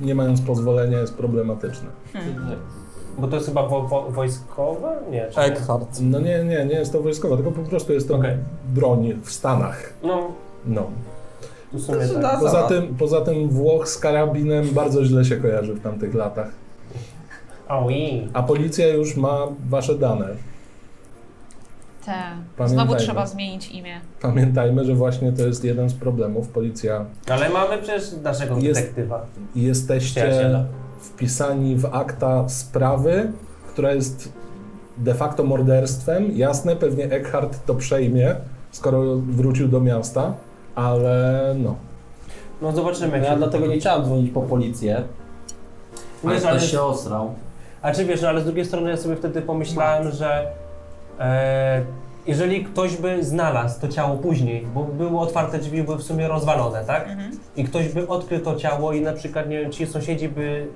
Speaker 1: nie mając pozwolenia jest problematyczne.
Speaker 5: Bo to jest chyba wo, wo, wojskowe? Nie. czy-
Speaker 7: Eckhart.
Speaker 1: No nie, nie, nie jest to wojskowa, tylko po prostu jest to
Speaker 5: Okej.
Speaker 1: broń w Stanach.
Speaker 5: No,
Speaker 1: No.
Speaker 5: tu w sumie tak.
Speaker 2: da-
Speaker 1: Poza tym, poza tym Włoch z karabinem bardzo źle się kojarzy w tamtych latach.
Speaker 5: Aui.
Speaker 1: A policja już ma wasze dane.
Speaker 3: Te. Znowu
Speaker 1: Pamiętajmy.
Speaker 3: trzeba zmienić imię.
Speaker 1: Pamiętajmy, że właśnie to jest jeden z problemów. Policja
Speaker 5: Ale mamy przecież naszego
Speaker 1: Jest-
Speaker 5: detektywa.
Speaker 1: jesteście
Speaker 5: Przyjaciela.
Speaker 1: wpisani w akta sprawy, która jest de facto morderstwem. Jasne, pewnie Eckhart to przejmie, skoro wrócił do miasta, ale no.
Speaker 5: No zobaczymy.
Speaker 2: Ja
Speaker 5: jak-
Speaker 2: dlatego nie chciałem dzwonić po policję.
Speaker 9: Ale
Speaker 5: Wiesz, ale,
Speaker 9: ktoś się osrał.
Speaker 5: a czy wiesz, no, ale z drugiej strony ja sobie wtedy pomyślałem, że e, jeżeli ktoś by znalazł to ciało później, bo były otwarte drzwi, były w sumie rozwalone, tak?
Speaker 3: Mhm.
Speaker 5: I ktoś by odkrył to ciało i na przykład, nie wiem, ci sąsiedzi by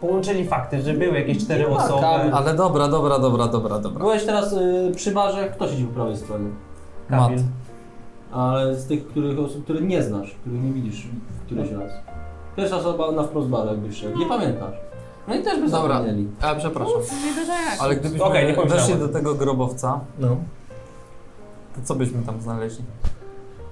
Speaker 5: połączyli fakty, że były jakieś cztery
Speaker 2: ma
Speaker 5: osoby.
Speaker 2: tam-
Speaker 7: Ale dobra, dobra, dobra, dobra, dobra.
Speaker 6: Byłeś teraz y, przy barze, kto siedzi po prawej stronie?
Speaker 7: Mat.
Speaker 5: Kamil.
Speaker 6: Ale z tych których osób, które nie znasz, których nie widzisz któryś raz. Pierwsza osoba na wprost barze jakby szedł, nie pamiętasz. No i też by
Speaker 7: Dobra.
Speaker 6: zapomnieli.
Speaker 7: A przepraszam. Ale gdybyśmy
Speaker 5: Okej, nie pomyślałem.
Speaker 7: weszli do tego grobowca,
Speaker 1: no.
Speaker 7: to co byśmy tam znaleźli?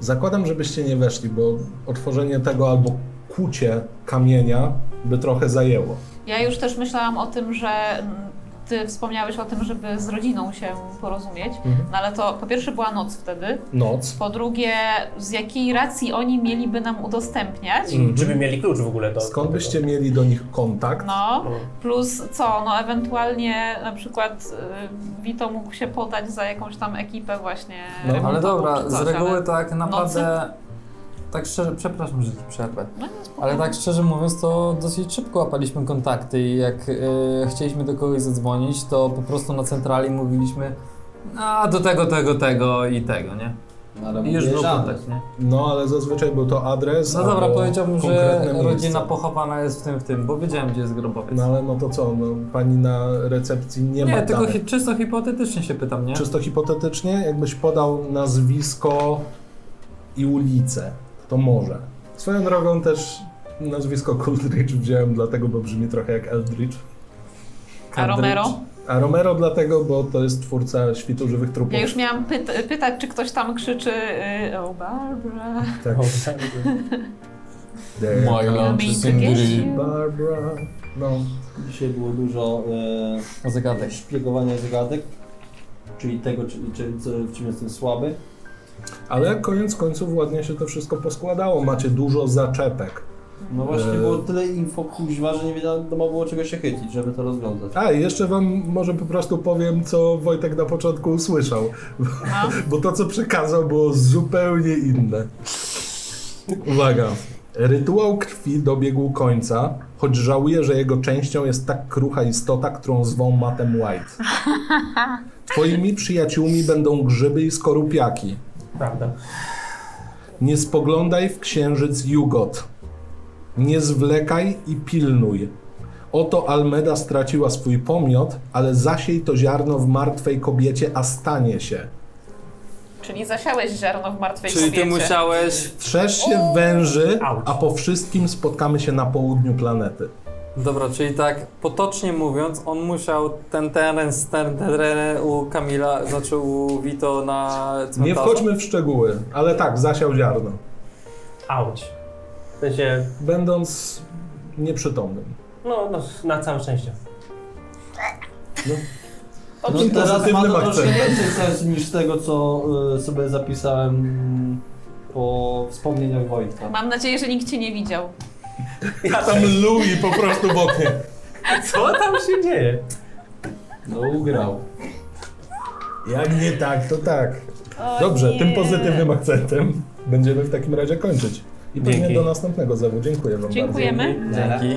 Speaker 1: Zakładam, żebyście nie weszli, bo otworzenie tego albo kucie kamienia by trochę zajęło.
Speaker 3: Ja już też myślałam o tym, że mm, ty wspomniałeś o tym, żeby z rodziną się porozumieć,
Speaker 1: Mhm.
Speaker 3: no ale to po pierwsze była noc wtedy,
Speaker 1: Noc.
Speaker 3: po drugie z jakiej racji oni mieliby nam udostępniać,
Speaker 1: Mhm.
Speaker 5: Żeby mieli klucz w ogóle do
Speaker 1: Skąd
Speaker 5: do
Speaker 1: byście mieli do nich kontakt?
Speaker 3: no,
Speaker 5: tego. No.
Speaker 3: plus co, no ewentualnie na przykład y, Vito mógł się podać za jakąś tam ekipę właśnie
Speaker 1: No, ale
Speaker 7: Ale
Speaker 3: remontową
Speaker 7: dobra,
Speaker 3: czy
Speaker 7: z
Speaker 3: coś,
Speaker 7: reguły
Speaker 3: ale...
Speaker 7: tak naprawdę... Tak szczerze, przepraszam, że ci przerwę.
Speaker 3: No, nie, spoko.
Speaker 7: Ale tak szczerze mówiąc, to dosyć szybko łapaliśmy kontakty i jak y, chcieliśmy do kogoś zadzwonić, to po prostu na centrali mówiliśmy a do tego, tego, tego i tego, nie? I już był kontakt, nie?
Speaker 1: No, ale zazwyczaj był to adres.
Speaker 7: No dobra,
Speaker 1: albo
Speaker 7: powiedziałbym, że
Speaker 1: konkretne miejsce.
Speaker 7: rodzina pochowana jest w tym, w tym, bo wiedziałem, gdzie jest grobowiec.
Speaker 1: No ale no to co, no, pani na recepcji nie,
Speaker 7: nie,
Speaker 1: ma
Speaker 7: tylko
Speaker 1: danych.
Speaker 7: hi- czysto hipotetycznie się pytam, nie?
Speaker 1: Czysto hipotetycznie, jakbyś podał nazwisko i ulicę, to może. Swoją drogą też nazwisko Coolidge wziąłem dlatego, bo brzmi trochę jak Eldridge.
Speaker 3: A Romero?
Speaker 1: A Romero dlatego, bo to jest twórca Świtu Żywych Trupów.
Speaker 3: Ja już miałam pyta- pytać, czy ktoś tam krzyczy y, o Barbara,
Speaker 1: Tak. There
Speaker 3: love
Speaker 1: comes
Speaker 3: is in the rain.
Speaker 1: Barbara. No.
Speaker 6: Dzisiaj było dużo e,
Speaker 7: Zagadek.
Speaker 6: szpiegowania zagadek, czyli tego, czy, czy, co- w czym jestem słaby.
Speaker 1: Ale koniec końców ładnie się to wszystko poskładało. Macie dużo zaczepek.
Speaker 6: No właśnie
Speaker 1: E.
Speaker 6: było tyle info kuźwa, że nie wiadomo było czego się chycić, żeby to rozwiązać.
Speaker 1: A, i jeszcze wam może po prostu powiem, co Wojtek na początku usłyszał.
Speaker 3: no.
Speaker 1: Bo to, co przekazał, było zupełnie inne. Uwaga. Rytuał krwi dobiegł końca, choć żałuję, że jego częścią jest tak krucha istota, którą zwą Mattem White. Twoimi przyjaciółmi będą grzyby i skorupiaki.
Speaker 5: Prawda.
Speaker 1: Nie spoglądaj w księżyc Jugot. Nie zwlekaj i pilnuj. Oto Almeda straciła swój pomiot, ale zasiej to ziarno w martwej kobiecie, a stanie się.
Speaker 3: Czyli zasiałeś ziarno w martwej
Speaker 4: Czyli ty
Speaker 3: kobiecie.
Speaker 4: musiałeś...
Speaker 1: Trzesz się węży,
Speaker 5: Auć.
Speaker 1: a po wszystkim spotkamy się na południu planety.
Speaker 7: Dobra, czyli tak potocznie mówiąc, on musiał ten teren, z ten teren u Kamila, znaczy u Vito na cmentarzu.
Speaker 1: Nie wchodźmy w szczegóły, ale tak, zasiał ziarno,
Speaker 5: Auć. W sensie,
Speaker 1: będąc nieprzytomnym.
Speaker 5: no, no na całe szczęście.
Speaker 6: No
Speaker 1: Tym
Speaker 6: teraz ma to
Speaker 1: pozytywnym
Speaker 6: troszkę
Speaker 1: akcentem.
Speaker 6: więcej sensu niż z tego, co y, sobie zapisałem mm, po wspomnieniach Wojtka.
Speaker 3: Mam nadzieję, że nikt cię nie widział.
Speaker 1: Tam lui po prostu w oknie.
Speaker 5: Co tam się dzieje?
Speaker 6: No ugrał.
Speaker 1: Jak nie tak, to tak.
Speaker 3: O
Speaker 1: Dobrze,
Speaker 3: nie.
Speaker 1: tym pozytywnym akcentem będziemy w takim razie kończyć. I pewnie
Speaker 5: Dzięki.
Speaker 1: do następnego zawu. Dziękuję wam bardzo.
Speaker 3: Dziękujemy.
Speaker 11: Dzięki.